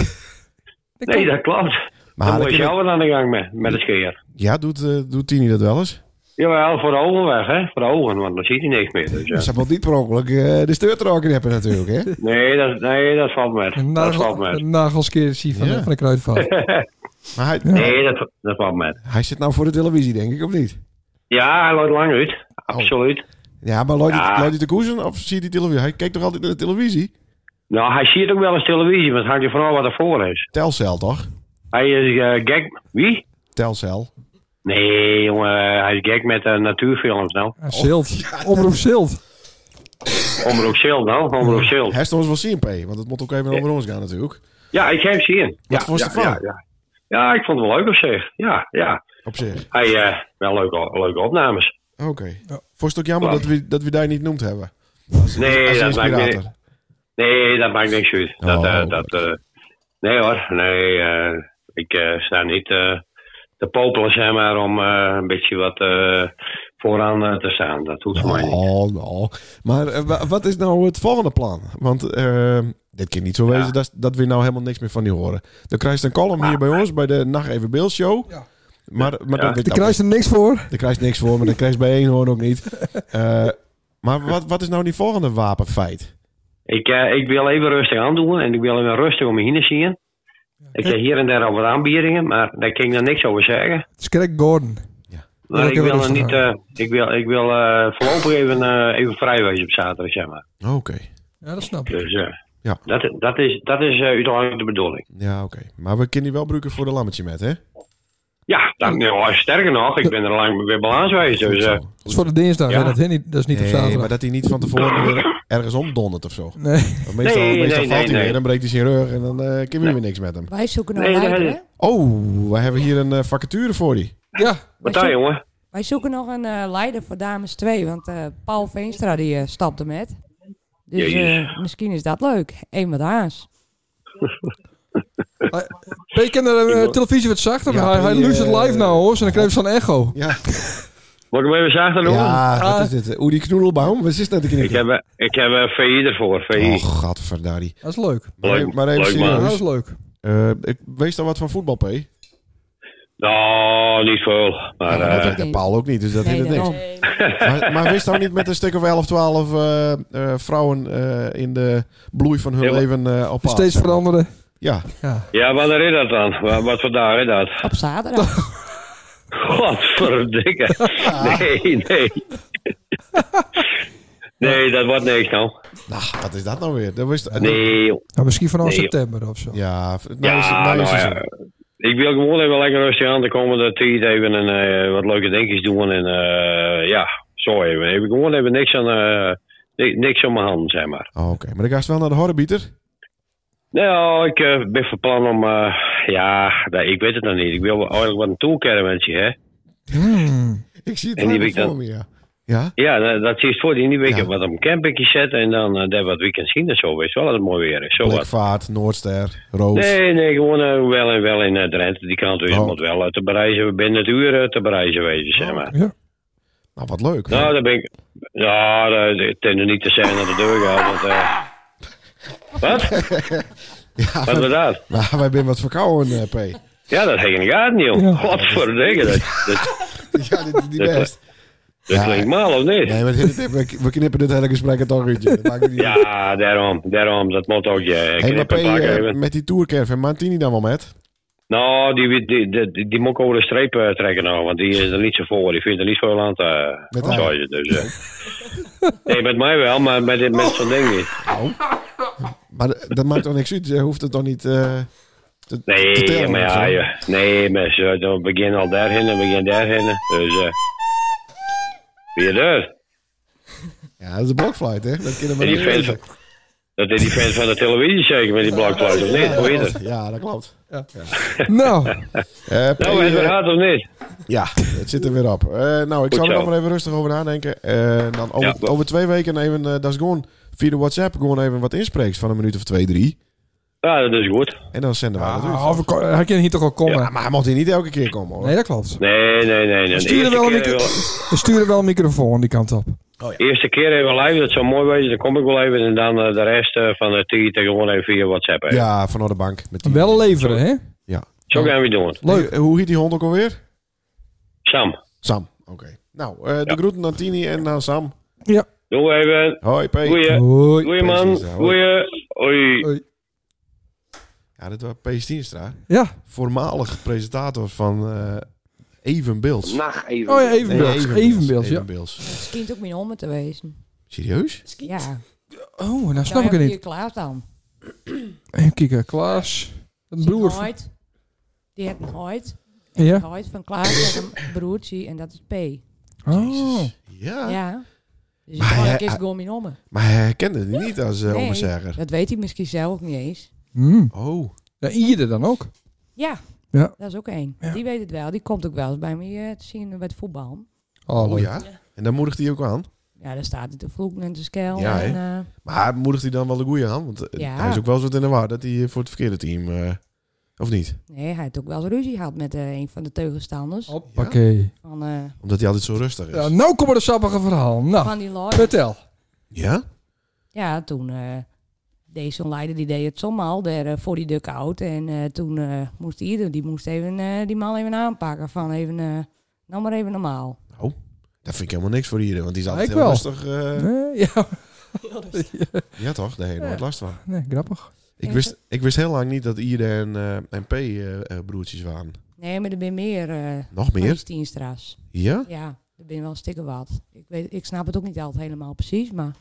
Ik
Nee,
ook.
dat klopt.
Maar
dan
dan
moet je
kun je-
zelf aan de gang met, met het scheer.
Ja, doet, eh, doet Tini dat wel eens?
Jawel, voor de ogen weg, hè? Voor de ogen, want dan ziet hij niks meer. Dus,
Ze
eh,
zal wel niet per ongeluk eh, de steurt er ook in hebben natuurlijk, hè?
nee, dat, nee, dat valt met.
Een
Dat valt
nagel,
met.
een nagelskeertje van,
Ja.
de- van de kruidvat.
Maar hij,
Nee, dat, dat valt met.
hij zit nou voor de televisie, denk ik, of niet?
Ja, hij loopt lang uit. Absoluut.
Ja, maar loopt
Ja.
hij de koersen of ziet hij televisie? Hij kijkt toch altijd naar de televisie?
Nou, hij ziet ook wel eens televisie, maar het hangt er vooral wat ervoor is.
Telcel, toch?
Hij is eh, gek... Wie?
Telcel.
Nee, jongen, hij is gek met eh, natuurfilms, nou.
Oh, Ja, Zilt. Omroep Zilt.
Omroep Zilt, nou. Omroep Zilt.
Hij is toch eens wel zien, P, want het moet ook even over ons gaan natuurlijk.
Ja, ik heb hem zien.
Wat
ja,
vond je
ja,
ervan?
ja, ja. Ja, ik vond het wel leuk op zich. Ja, ja.
Op zich.
Hij, eh, wel leuke, leuke opnames.
Oké. Vond je het ook jammer
Ja.
dat we, dat we daar niet noemd hebben?
Nee,
Als
dat maakt
inspirator.
niet, nee, dat maakt niks uit. Dat,
Oh.
eh, dat, eh, nee hoor, nee. eh, ik eh, sta niet eh, te popelen, zeg maar, om eh, een beetje wat eh, vooraan eh, te staan. Dat hoeft voor mij niet.
Oh, nou. Maar eh, wa- wat is nou het volgende plan? Want eh, dit kan niet zo wezen dat, dat we nou helemaal niks meer van die horen. Dan krijg je een column hier bij ons bij de Nacht Even Beeld Show.
Ja.
Maar, maar
Ja.
Dan, weet
Daar
ik
krijg je er niks voor.
dan krijg je niks voor, maar dan krijg je bij één hoorn ook niet. Eh, maar wat, wat is nou die volgende wapenfeit?
Ik, eh, ik wil even rustig aandoen en ik wil even rustig om me heen zien. Ik heb hier en daar al wat aanbiedingen, maar daar kan ik dan niks over zeggen.
Skrek Gordon.
Maar
Ja,
ik
dat
wil
is
er niet.
waar.
eh, ik wil, ik wil eh, voorlopig even, eh, even vrij wezen op zaterdag, zeg maar.
Oké.
Oh, Ja, dat snap ik.
Dus eh,
Ja.
dat, dat is, dat is eh, uiteindelijk de bedoeling.
Ja, oké. Maar we kunnen die wel gebruiken voor de lammetje met, hè?
Ja, dan, nou, sterker nog, ik ben er lang weer balans geweest. Dus, eh,
Dat is voor de dinsdag,
Ja.
hè? Dat, is niet, dat is niet op
Nee,
zaterdag.
maar dat hij niet van tevoren weer ergens omdondert of zo.
Nee.
Want Meestal,
Nee,
meestal
nee,
valt hij
nee,
weer,
nee.
dan breekt hij zijn rug en dan eh kunnen we weer niks met hem.
Wij zoeken een
Nee,
leider,
nee.
hè?
Oh, we hebben hier een eh, vacature voor die.
Ja,
wat dan, jongen?
Wij zoeken nog een eh, leider voor dames 2, want eh, Paul Veenstra die eh, stapte met. Dus eh,
Jezus.
misschien is dat leuk. Eén met haas.
ben je kende de eh, televisie wat zachter?
Ja,
hij hij
die,
luistert
eh,
live nou hoor, en dan krijg je zo'n echo.
Ja.
Moet ik hem even zachter doen?
Ja, wat is dit? Oedi Knoedelbaum? Wat is dat? Ik
Ik heb, eh, ik heb eh, VI ervoor. VI.
Oh, gadverdari.
Dat is leuk.
Maar,
Leuk-
even- maar even
leuk,
serieus.
man.
Dat is leuk.
Eh, ik weet dan wat van voetbal, P. Maar,
Nou, niet veel. Maar,
dat
eh,
weet de Paul ook niet, dus dat
Nee,
is het niks.
daarom.
Nee.
Maar, maar wist nou niet met een stuk of 11, 12 eh, eh, vrouwen eh, in de bloei van hun
Ja, maar-
leven eh op pad?
Steeds veranderen.
Ja,
Ja.
ja, wanneer is dat dan? Wat, wat voor dag is dat?
Op zaterdag.
Godverdikke. Nee, nee. Nee, dat wordt niks nou.
nou, wat is dat nou weer? Dat wist,
Nee, joh.
Nou, misschien vanaf
Nee, joh.
september of zo.
Ja, v- nou is het,
ja,
nou
nou
is het zo.
ja. Ik wil gewoon even lekker rustig aan de komende tijd even een, eh, wat leuke dingetjes doen. En eh, ja, zo even. Heb ik gewoon even niks aan, eh, ni- niks aan mijn handen, zeg maar.
Oh, Oké, maar dan ga je wel naar de horrebieter.
Nou, ik eh, ben van plan om, eh, ja, nee, ik weet het nog niet. Ik wil eigenlijk wat een toolcaravan'tje, hè.
Hmm.
Ik zie het
En die
helemaal
week dan-
voor me, ja. Ja?
Ja, dat, dat is voor die weekend
Ja.
wat op een campingje zetten en dan eh, daar wat weekend zien en zo, weet je wel, dat het mooi weer is. Zo wat.
Blikvaart, Noordster, Roos.
Nee, nee, gewoon eh, wel en wel in eh, Drenthe, die kant weer.
Oh.
moet wel eh, te bereizen, binnen het uur eh, te bereizen wezen, zeg maar.
Ja.
Nou, wat leuk.
Nou, daar ben ik. Ja, dat- ik denk nog niet te zeggen dat de deur gaat. Want, eh, Wat?
ja,
Wat was
wij,
dat?
nou, wij zijn wat verkouden, eh, P.
Ja, dat heb ik in de gaten niet,
Ja.
joh. Godverdikke, dat, dat,
ja, dit is niet
Dat-
best.
dat
Ja.
klinkt mal, of niet?
Nee, maar dit- dit- we we knippen dit hele gesprek er toch uit. joh. Dat maakt niet uit.
Ja, daarom, daarom, dat moet ook je
Hey, maar P,
knippen plakken
eh,
even.
met die tourcaravan, Martini dan wel met?
Nou, die, die, die, die, die moet ik over de streep eh, trekken nou, want die is er niet zo voor. Die vindt er niet veel aan te
Met
uh,
haar.
Dus, eh. nee, met mij wel, maar met, met zo'n ding niet.
Maar d- dat maakt toch niks uit? Je hoeft het toch niet eh, te, te
Nee,
tellen?
maar
of
ja,
zo?
ja. nee, maar ze, dan begin al daarheen en begin daarheen. Dus, eh wie er?
Ja, dat is een blokfluit, hè? Dat kunnen we
En die
niet
fans,
weten.
dat is die fans van de televisie zeker met die blokfluit, of niet?
Ja,
Hoe
dat
is
klopt.
het?
Ja, dat klopt.
Nou,
Eh, P,
Nou, is het
eh,
hard of niet?
ja, het zit er weer op. Eh, nou, ik zal er
zo.
nog maar even rustig over nadenken. Eh, dan over,
Ja.
over twee weken even, eh, dat is gewoon via de WhatsApp, gewoon even wat inspreeks van een minuut of twee, drie.
Ja, dat is goed.
En dan zenden wij dat
ah,
uit.
of ik- hij kan hier toch wel komen.
Ja, maar hij mocht hier niet elke keer komen, hoor.
Nee, dat klopt.
Nee, nee, nee. nee.
We
De
sturen,
eerste
wel een
keer,
micro-
even,
we sturen wel een microfoon die kant op.
eerste keer even live, dat zou mooi wezen. Dan kom ik wel even en dan eh, de rest eh, van de tijd gewoon even via WhatsApp. even.
Ja, vanuit de bank. Met die-
Wel leveren, hè?
Ja.
Zo gaan we doen.
Leuk. Eh, hoe heet die hond ook alweer?
Sam,
Sam. Oké. Nou, eh, de groeten aan Tini en aan Sam.
doe even.
Hoi, P.
Goeie.
Hoi.
Goeie man.
Precies, hè. Hoi.
Goeie. Hoi.
Ja, dit was P. Stienstra.
Ja.
Voormalig presentator van eh Evenbeelds.
Nou,
Nacht even.
Oh ja, evenbeeld. Evenbeeld, ja.
Evenbeelds.
Het schijnt ook mijn homme te wezen.
Serieus?
Ja, nou,
Oh, nou snap ik het
Hier
niet.
klaar dan.
Even kijken, Klaas. Een broer. van-
Nooit. Die heeft nooit.
Ja.
Nooit van Klaas met een broertje en dat is P.
Oh.
Ja.
Ja. Dus
Maar ah.
ik
hij-
is
hij-
gewoon mijn homme.
Maar hij herkende het niet als eh
Nee.
ommezegger.
Dat weet hij misschien zelf ook niet eens.
Hmm.
Oh.
Ja, ieder dan ook.
Ja.
Ja.
Dat is ook één.
Ja.
Die weet het wel. Die komt ook wel eens bij me eh, te zien bij het voetbal.
Oh,
Oh
leuk.
ja. En dan moedigt hij ook aan.
Ja, daar staat hij te vloeken en te skel.
Ja,
en, eh,
Maar moedigt hij dan wel de goeie aan? Want eh,
Ja.
hij is ook wel zo in de war dat hij eh, voor het verkeerde team... eh, of niet?
eh, nee, hij heeft ook wel eens ruzie gehad met eh, een van de
Oh.
tegenstanders.
Hoppakee.
Van, eh,
Omdat hij altijd zo rustig is.
Ja, nou komen de sappige verhaal.
Ah.
Nou,
van die Lloyd.
vertel.
Ja?
Ja, toen eh deed zo'n leider die deed het zomaar al daar eh, voor die duk out. En eh, toen eh, moest ieder, die moest even eh, die man even aanpakken van even, eh nou maar even normaal.
Dat vind ik helemaal niks voor iedereen, want die is altijd
Ik
heel
wel.
rustig. eh,
Nee, ja.
Heel rustig.
Ja toch? Daar heb je nooit last van.
nee, grappig.
Ik wist, ik wist heel lang niet dat Ieder en, eh, en P eh, eh, broertjes waren.
Nee, maar er ben meer eh
Nog meer?
Christienstra's.
Ja?
Ja, er ben wel een stikke wat. Ik, weet, ik snap het ook niet altijd helemaal precies, maar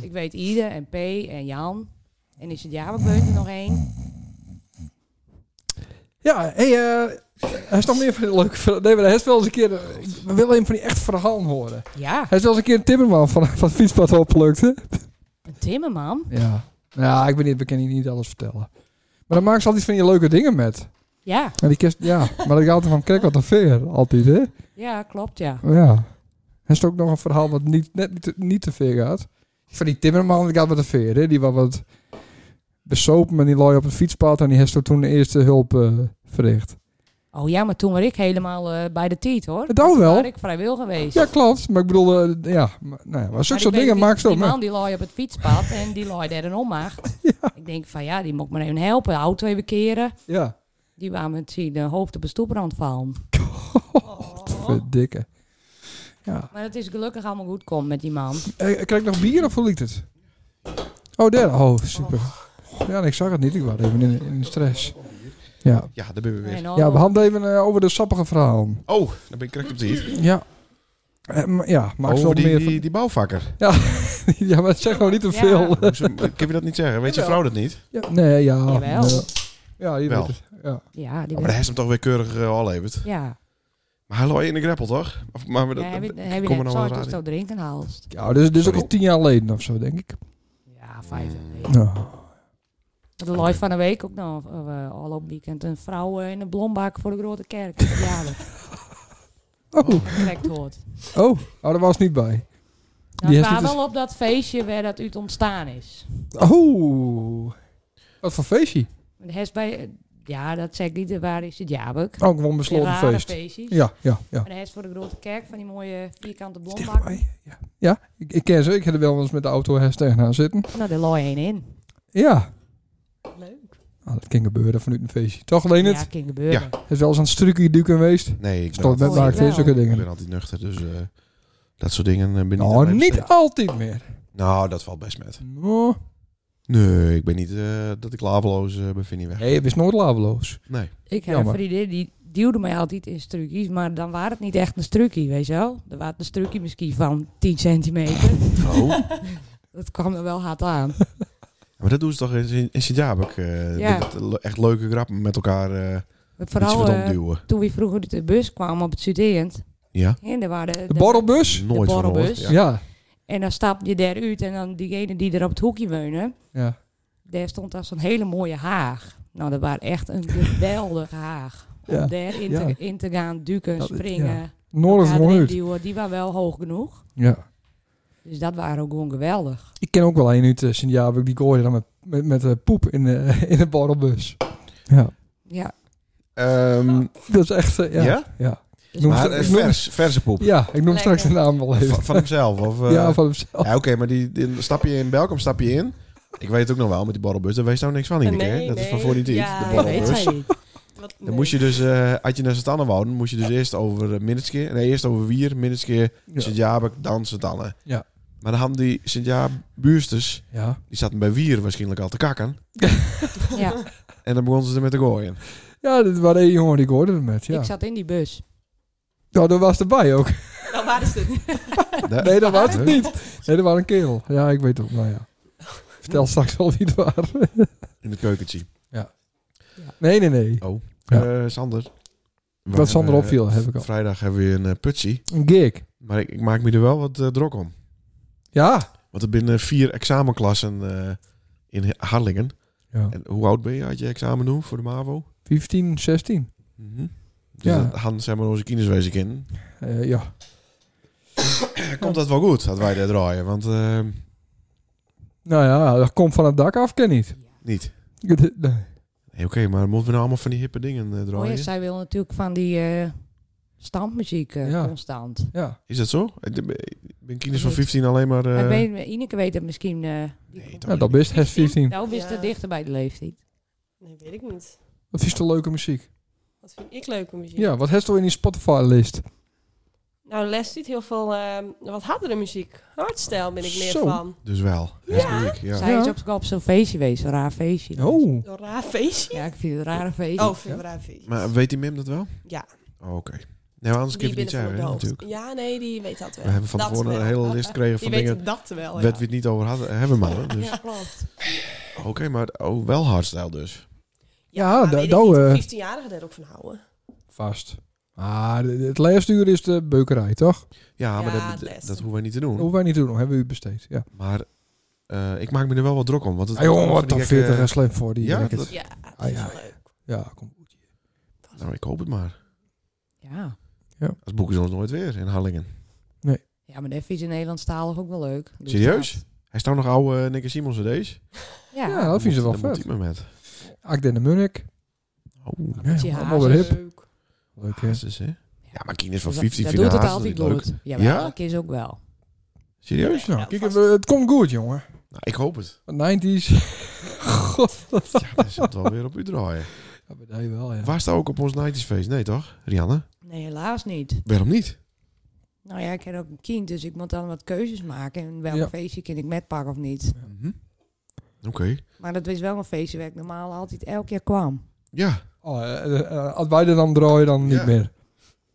ik weet Ide en P en Jan. En is het Jabebeun er nog één?
Ja, hey, eh, hij is nog meer van die leuke verhalen. Nee, maar hij is wel eens een keer... eh, We willen een van die echt verhalen horen.
Ja,
Hij is wel eens een keer een timmerman van, van het fietspad opgelukt, hè?
een timmerman.
Ja. Ja, ik ben niet, ik kan hier niet alles vertellen. Maar dan maken ze altijd van die leuke dingen met.
Ja,
En die kerst, ja. Maar dat ik altijd van, kijk wat een veer. Altijd, hè?
ja, klopt ja.
Ja. Er is ook nog een verhaal wat niet, net niet te, niet te ver gaat. Van die timmerman, die gaat met een veer, hè? Die was wat besopen en die looi op het fietspad. En die heeft zo toen de eerste hulp eh, verricht.
Oh ja, maar toen was ik helemaal eh, bij de tiet hoor.
Het al
Toen
wel.
was ik vrijwil geweest.
Ja, klopt. Maar ik bedoel, eh, ja, maar, nou ja, maar zulke
Maar
soort
ik weet
dingen
die-
maak ze ook
Die
mee.
man die lag op het fietspad en die lag daar een ommacht. Ik denk van ja, die moet ik maar even helpen. De auto even keren.
Ja,
Die waren met zijn eh, hoofd op een stoeprand vallen. Oh.
verdikke. Ja.
Maar het is gelukkig allemaal goed komt met die man.
Eh, krijg ik nog bier of hoe liet het? Oh, daar. Oh, super. Ja, ik zag het niet. Ik was even in, in stress. Ja.
Ja, daar ben we weer.
En al-
ja, we hadden even eh, over de sappige verhaal.
Oh, dan ben ik correct op de hit.
Ja. Eh, m- ja, maak ze
Over
nog
die,
meer
die, die bouwvakker.
van... Ja, maar zeg nou niet te
Ja.
veel.
Hoe ze- Kun je dat niet zeggen? Weet je vrouw dat niet?
Ja, nee, ja.
Jawel.
nee. Ja, je
Wel.
weet het. Ja.
Ja, die
Oh, maar hij is hem toch weer keurig eh, al levert.
Ja,
Maar hij looit in de greppel, toch? Of, maar we
Ja,
dat,
heb je,
dat-
heb je
kom er nou
net
wel
zo'n
raar in.
toestel drinken haalt.
ja, dus, dus ook
Sorry.
al tien jaar geleden of zo, denk ik.
Ja, vijf.
Ja.
De looi van de week ook nog, eh, al op weekend. Een vrouw eh, in een blombak voor de grote kerk. Ja, dat
Oh,
correct hoort.
oh. oh, daar was niet bij.
Nou,
Die
het
heeft dus-
was
niet
wel op dat feestje waar dat uit ontstaan is.
Oh. Wat voor feestje?
Het is bij, ja, dat zeg ik niet, eh, waar is het Jabuk?
Oh, gewoon
Die
besloten
rare
feest.
feestjes.
Ja, ja, ja.
En hij is voor de grote kerk van die mooie vierkante blombak.
Dichterbij. Ja, ja ik, ik ken ze. Ik heb er wel eens met de auto hers tegenaan zitten.
Nou, daar looi één in.
Ja.
Leuk.
Ah, dat kan gebeuren vanuit een feestje. Toch, Leonard?
Ja, kan gebeuren.
Ja.
Het is wel eens aan het struikie duiken geweest.
Nee, ik ben,
Stond met
altijd,
Oh,
maakt
jawel.
zulke
ik
dingen.
ben altijd nuchter, dus eh, dat soort dingen eh, ben ik
Nou,
aan
niet
besteed.
altijd meer.
Nou, dat valt best met.
Nou,
Nee, ik ben niet eh, dat ik laveloos eh, ben, vind ik weg.
Nee, het is nooit laveloos.
Nee.
Ik heb
Jammer.
een vriendin die duwde mij altijd in strucjes, maar dan waren het niet echt een strucje, weet je wel. Er was een strucje misschien van 10 centimeter.
Oh.
Dat kwam er wel hard aan.
maar dat doen ze toch in, in Sint-Jabek? eh,
Ja.
dat le- Echt leuke grappen met elkaar. eh iets
Vooral
wat
eh,
omduwen.
toen we vroeger uit de bus kwamen op het student.
Ja.
En er waren
De borrelbus?
Nooit van
borrelbus.
gehoord.
Ja.
Ja.
Ja.
En dan stap je daaruit en dan diegene die er op het hoekje wonen,
ja.
daar stond als een hele mooie haag. Nou, dat was echt een geweldige haag. Om
Ja.
daarin
Ja.
te, in te gaan duiken,
Dat-
springen. Ja.
Nooit van gehoord.
duwen, die waren wel hoog genoeg.
Ja.
Dus dat waren ook gewoon geweldig.
Ik ken ook wel een uit eh, Sint-Jabek. Die gooide dan met, met, met eh, poep in de, in de borrelbus. Ja.
Ja,
Ehm,
Dat is echt... eh,
ja?
ja. Ja. Ik noem
Maar
straks-
eh,
ik noem-
vers, verse poep.
Ja, ik noem
Lekker.
straks de naam wel even.
Van, van hemzelf? Of, eh,
Ja, van
Oh.
hemzelf.
Ja, oké, maar die, die- stap je in Belkom, stap je in. Ik weet het ook nog wel, met die borrelbus, daar wees nou niks van, Ineke. hè?
Nee,
dat is van
nee.
voor die tijd,
Ja,
de
Oh,
dat
weet
borrelbus.
hij niet.
Wat,
Dan moest je dus, eh had je naar Santanne wouden, moest je dus eerst over uh, nee, eerst over Wier, Minneskeer,
Ja.
Sint-Jabek, dan Santanne.
Ja.
Maar dan hadden die Sint-Jaap-buursters,
Ja.
die zaten bij Wier waarschijnlijk al te kakken.
Ja,
En dan begonnen ze ermee te gooien.
Ja, dit waren één jongen die ik hoorde met. Ja.
ik zat in die bus.
Nou, dat was erbij ook.
Nou, waar is het?
Da-
Nee, dat was
Huh?
het niet. Nee, dat was een kerel. Ja, ik weet het. Nou ja. Vertel straks wel wie het was.
In het keukentje.
Nee, nee, nee. Ja.
Eh, Sander. we
Wat Sander
hebben,
opviel, heb ik al.
Vrijdag hebben we weer een eh, putsie.
Een gig.
Maar ik, ik maak me er wel wat eh, druk om.
Ja.
Want er binnen vier examenklassen eh, in Harlingen.
ja.
En hoe oud ben je? Had je examen doen voor de MAVO?
15, 16.
Dus
Ja.
dat hadden zeg maar onze kinderswezen in.
Eh, ja.
Komt dat wel goed, dat wij daar draaien? Want eh,
Nou ja, dat komt van het dak af, ken niet.
niet.
Nee.
Nee, Oké, maar moeten we nou allemaal van die hippe dingen eh,
Oh ja,
draaien?
zij wil natuurlijk van die eh, stampmuziek eh,
Ja.
constant.
Ja.
Is dat zo? Ik ben- ik ben kinders van 15 alleen maar... eh,
Maar ik weet, Ineke weet het misschien. eh
nee, toch
ja, dat
niet.
best het 15.
nou, wist
Ja.
het dichter bij de leeftijd.
Nee, weet ik niet.
Wat is de leuke muziek?
Wat vind ik leuke muziek?
Ja, wat heeft toch in die Spotify-list?
Nou, les niet heel veel ehm, wat hardere muziek. Hardstyle ben ik meer
Zo.
van.
Dus wel. Ja? Ik, ja.
Zij
Ja.
is ook op zo'n feestje geweest, een raar feestje.
Oh.
Een raar feestje.
Ja, ik vind het een rare feestje.
Oh, vind ik een raar feestje.
Maar weet die Mim dat wel?
Ja.
Oh, Oké. Nee, maar anders kun je het niet zeggen,
binnen
hè,
van het
natuurlijk.
hoofd. Ja, nee, die weet dat wel.
We hebben van
Dat
tevoren
wel.
een hele list gekregen
Die
van
weet
dingen...
dat wel,
waar
oh ja.
we het niet over hadden, hebben maar. Dus.
Ja, klopt.
Oké, maar oh, wel hardstyle dus.
Ja,
maar
da-
weet ik
nou,
niet of
eh,
15-jarigen daar ook van houden.
Vast. Ah, de- de- het laatste uur is de beukerij, toch?
Ja, maar
Ja,
dat,
het
dat,
beste.
hoeven wij niet te
Dat
doen.
hoeven wij niet te doen, hebben we u besteed. Ja.
Maar eh, ik maak me er wel wat druk om. Want het
Ah, jongen, wat
die
dan
gekke-
40 en slim voor die.
Ja,
Ja,
dat-
Ja, dat
Ah,
is
ja.
wel leuk.
ja kom goed.
Nou, ik hoop het maar.
Ja.
Dat boeken ze ons nooit weer in Harlingen.
ja, maar dat vind je Nederlandstalig ook wel leuk. Doe
Serieus?
dat.
Hij staat nog oude uh, Nikke Simons deze.
Ja,
Ja, dat vinden ze wel
Daar moet
vet.
ik me met.
Akden de Munnik.
Oh,
met die
allemaal
hazes.
weer hip.
Leuk.
Leuk, hè?
Hazes, hè? Ja, maar Kien is van
Dat-
50
dat
vind
doet
ik
het
Hazes
altijd
niet leuk.
goed. Ja,
Ja?
dat is ook wel.
Serieus?
Nou,
Ja,
kijk,
vast.
het komt goed, jongen.
Nou, ik hoop het.
90s. God, wat
Ja, dan zit het alweer op u draaien.
ja, bij die wel, ja.
Waar staat ook op ons 90s feest? Nee, toch? Rianne?
Nee, helaas niet.
Waarom niet?
Nou ja, ik heb ook een kind, dus ik moet dan wat keuzes maken. En welk
Ja.
feestje kan ik metpakken of niet.
Oké.
Maar dat was wel een feestje waar ik normaal altijd elk jaar kwam.
Ja.
Oh, eh, eh, als wij er dan draaien, dan niet
Ja.
meer.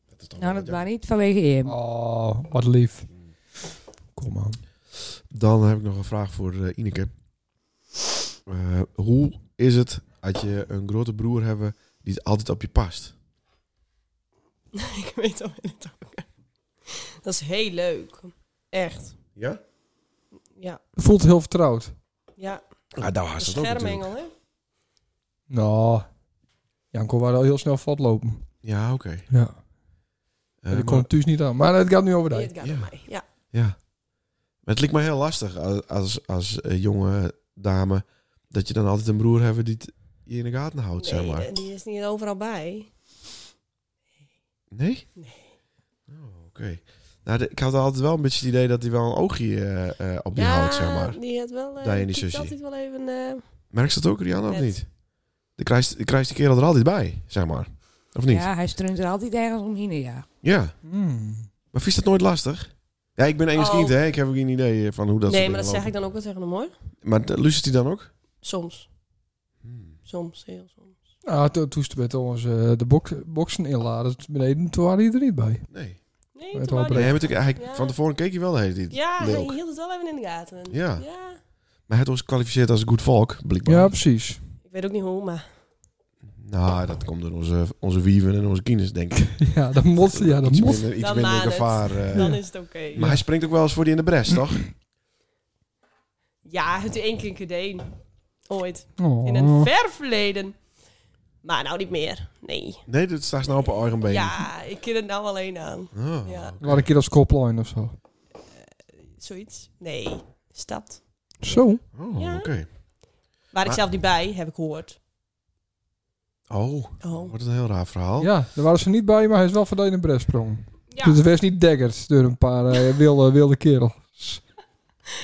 Dat is toch
Nou,
wel-
dat was niet vanwege hem.
Oh, wat lief. Kom aan.
Dan heb ik nog een vraag voor eh, Ineke. Eh, hoe is het als je een grote broer hebt die het altijd op je past?
ik weet al in het ook. Dat is heel leuk. Echt.
Ja?
Ja.
Voelt heel vertrouwd.
Ja.
Ah, daar
Een
was het ook natuurlijk.
schermengel, hè?
Nou, Janko waren al heel snel vatlopen.
Ja, oké. Eh,
Ja.
maar-
dat komt thuis niet aan. Maar het gaat nu over
Nee,
die.
het gaat
Ja.
om mij. Ja.
Ja. Maar het lijkt me heel lastig als, als, als eh, jonge dame dat je dan altijd een broer hebt die het je in de gaten houdt, zeg maar.
Nee, eh, die is niet overal bij.
Nee? Oh, oké. Nou, de- ik had altijd wel een beetje het idee dat hij wel een oogje eh, eh, op je houdt, zeg maar.
die had wel... eh
Daar in die
kiekt
sushi.
altijd wel even... eh
Merk je dat ook, Rianne, of
Net.
niet? Dan krijgt dan krijgt die kerel er altijd bij, zeg maar. Of niet? Ja.
Ja, hij strunt er altijd ergens omheen, ja.
Hmm.
Maar vind je dat nooit lastig? Ja, ik ben Engels
Oh.
kind, hè. Ik heb ook geen idee van hoe dat
nee,
soort
maar dat
dingen
zeg ik dan ook wel tegen hem, hoor.
lopen. Maar eh, luistert hij dan ook?
Soms. Hmm. Soms, heel soms.
Nou, to- toen ze met ons eh, de bok boksen inladen beneden, toen waren die er niet bij.
Nee.
Nee,
Weet
toen
wel,
wou
Nee,
Oh, die-
hij, heeft natuurlijk- hij-
Ja.
Van tevoren keek hij wel de hele tijd.
Ja, hij
Leuk. Maar
hield het wel even in de gaten.
Ja.
ja.
hij heeft ons gekwalificeerd als een goed volk, blijkbaar.
Ja, precies.
Ik weet ook niet hoe, maar...
Nou, dat komt door onze, onze wieven en onze kines, denk ik.
Ja, dat moet. Ja, dat
iets
moet.
minder, iets
Dan
minder
laat het.
gevaar. eh.
Dan is het oké.
Maar hij springt ook wel eens voor die in de bres, toch?
Ja, het één keer gedaan. Ooit.
Oh.
In een ver verleden. Maar nou niet meer. Nee.
Nee, dat staat nou op een eigen been.
Ja, ik ken het nou alleen aan.
Oh.
Ja.
Waar een keer als kopline of zo.
Zoiets? Nee. Stad.
Zo.
Oh,
Ja.
oké.
Waar ik
Maar-
zelf niet bij, heb ik gehoord.
Oh,
Oh.
wordt een heel raar verhaal.
Ja, daar waren ze niet bij, maar hij is wel van de ene bres sprong.
Ja.
Dus het was niet daggerd door een paar eh, wilde, wilde kerels.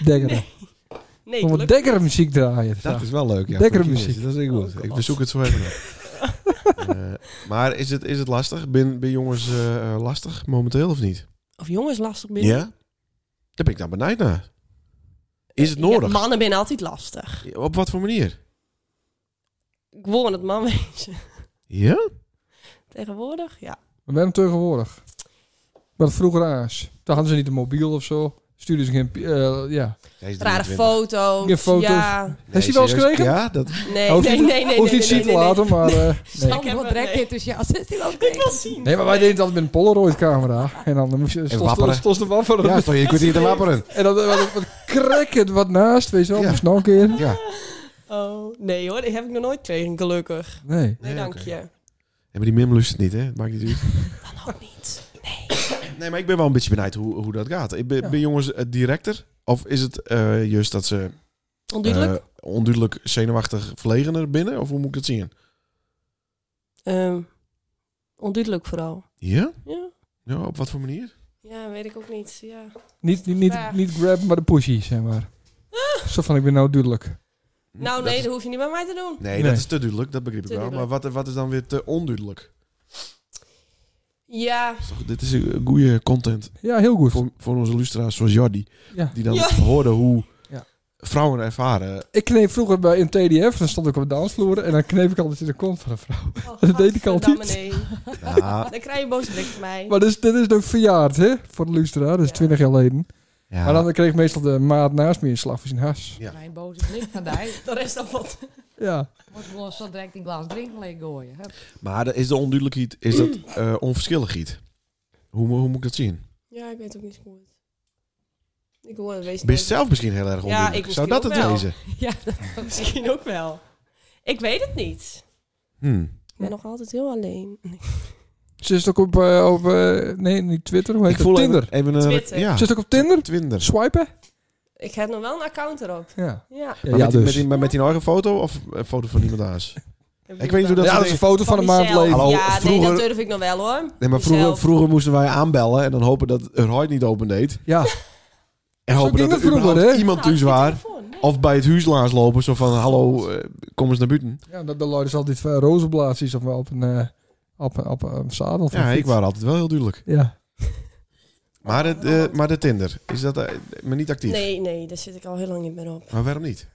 Daggeren.
Nee, Nee,
Om wat
gelukkig.
daggeren muziek draaien.
Dat is wel leuk. Ja,
Lekkere
voor de
muziek.
kinderen, Dat is heel goed.
Oh,
ik
God.
bezoek het zo even. Eh, maar is het, is het lastig? Ben, ben jongens eh, eh, lastig momenteel of niet?
Of jongens lastig binnen.
Daar ben ik dan benijd naar. Is het
Eh,
nodig?
mannen zijn altijd lastig.
Op wat voor manier?
Gewoon het man wezen.
Ja?
Tegenwoordig, ja.
We hebben hem tegenwoordig. Maar dat vroeger aas. Toen hadden ze niet een mobiel of zo. Stuurden ze geen... pi- eh, ja.
Hij is
Rare
23.
foto's.
Je foto's. Oh,
Ja.
Nee,
Heeft hij wel eens
serieus?
gekregen?
Ja, dat...
Nee,
Hoeft
nee,
niet-
nee, nee.
Hoeft niet
nee, nee,
zien te
nee, nee.
laten, maar... eh, nee.
Ik heb
Wat
het,
direct
nee.
enthousiast is hij wel
Ik wil zien.
nee, maar wij deden het altijd met een Polaroid-camera. En dan moest je...
wapperen.
Stond de wapperen.
ja, sorry, je kunt hier te wapperen.
En dan eh, wat, wat krekkend wat naast, weet je wel.
Ja.
Moest nog een keer.
Ja.
Oh, nee hoor, die heb ik nog nooit gekregen, gelukkig.
Nee.
Nee,
Nee,
dank
oké.
je.
Ja, maar die mim lust het niet, hè? Dat Maakt niet uit.
Dan ook niet.
Nee, maar ik ben wel een beetje benijd hoe, hoe dat gaat. Ik ben,
Ja.
ben jongens eh, directer? Of is het eh, juist dat ze
Onduidelijk.
eh, onduidelijk zenuwachtig verlegener binnen? Of hoe moet ik dat zien?
Eh.
Ehm, onduidelijk vooral.
Ja?
Ja.
Ja, op wat voor manier?
ja, weet ik ook niet. Ja.
Niet, niet, niet,
Ja.
niet grab, maar de pushy, zeg maar. Zo van, ik ben nou duidelijk.
Nou
Hm, Dat
nee,
is-
dat hoef je niet bij mij te doen.
nee,
Nee.
dat is te duidelijk, dat begrijp ik
Te
wel. Maar
duidelijk.
wat, wat is dan weer te onduidelijk?
Ja,
Toch, dit is een goede content
Ja, heel goed.
voor, voor onze lustra's zoals Jordi.
Ja.
Die dan
Ja.
hoorden hoe
Ja.
vrouwen ervaren.
Ik kneep vroeger bij in TDF, dan stond ik op de dansvloer en dan kneep ik altijd in de kont van een vrouw.
oh,
Dat deed ik
gadverdamme,
altijd.
nee.
Ja,
Dan krijg je een boze blik van mij.
Maar dus, dit is nog verjaard, hè? Voor de luisteraar, dat is
Ja.
20 jaar geleden.
ja.
Maar dan kreeg ik meestal de maat naast me in slag voor zijn has.
Ja.
Mijn boze blik van die.
Dat is dan wat.
Ja.
Moet gewoon zo direct een glas drinken leeg gooien. Hup.
maar dat is de onduidelijkheid, is dat eh, onverschilligheid? Hoe, mo- hoe moet ik dat zien?
Ja, ik weet ook niet zo goed. Ik hoor het wees
Ben je zelf misschien heel erg
Ja,
onduidelijk?
ik
Zou dat
misschien
het
ook wel.
wezen?
Ja, dat
Misschien ook wel. Ik weet het niet.
Hmm.
Ik ben nog altijd heel alleen.
Ze is ook op, eh, op eh, nee, niet Twitter, hoe heet
Ik
het?
voel
Tinder.
even, Ah. even een...
Twitter.
Ja,
Ze is ook op Tinder?
Twinder.
Swipen?
Ik heb nog wel een account erop.
Ja.
Ja.
Ja,
Maar,
ja,
met, die-
dus.
met, die- maar met die eigen foto of een foto van iemand anders? Ik weet niet hoe dat
Ja, dat is een foto van een maand
mezelf.
geleden.
Hallo,
ja, nee,
vroeger-
dat durf ik nog wel hoor.
Nee, maar vroeger, vroeger moesten wij aanbellen en dan hopen dat het huid niet opendeed.
Ja,
En
Zo
hopen
ging
dat er
het vroeger,
überhaupt
hè?
Nou,
iemand thuis was. Of bij het huis langs lopen, zo van hallo, eh, kom eens naar buiten.
ja dat de luiders altijd van rozenblaasjes of wel op een, eh, op, een- op, een zadel. van
Ja,
fiets.
ik was altijd wel heel duidelijk.
Ja,
Maar, het, eh, maar de Tinder, is dat eh, maar niet actief?
Nee, nee, daar zit ik al heel lang niet meer op.
Maar waarom niet?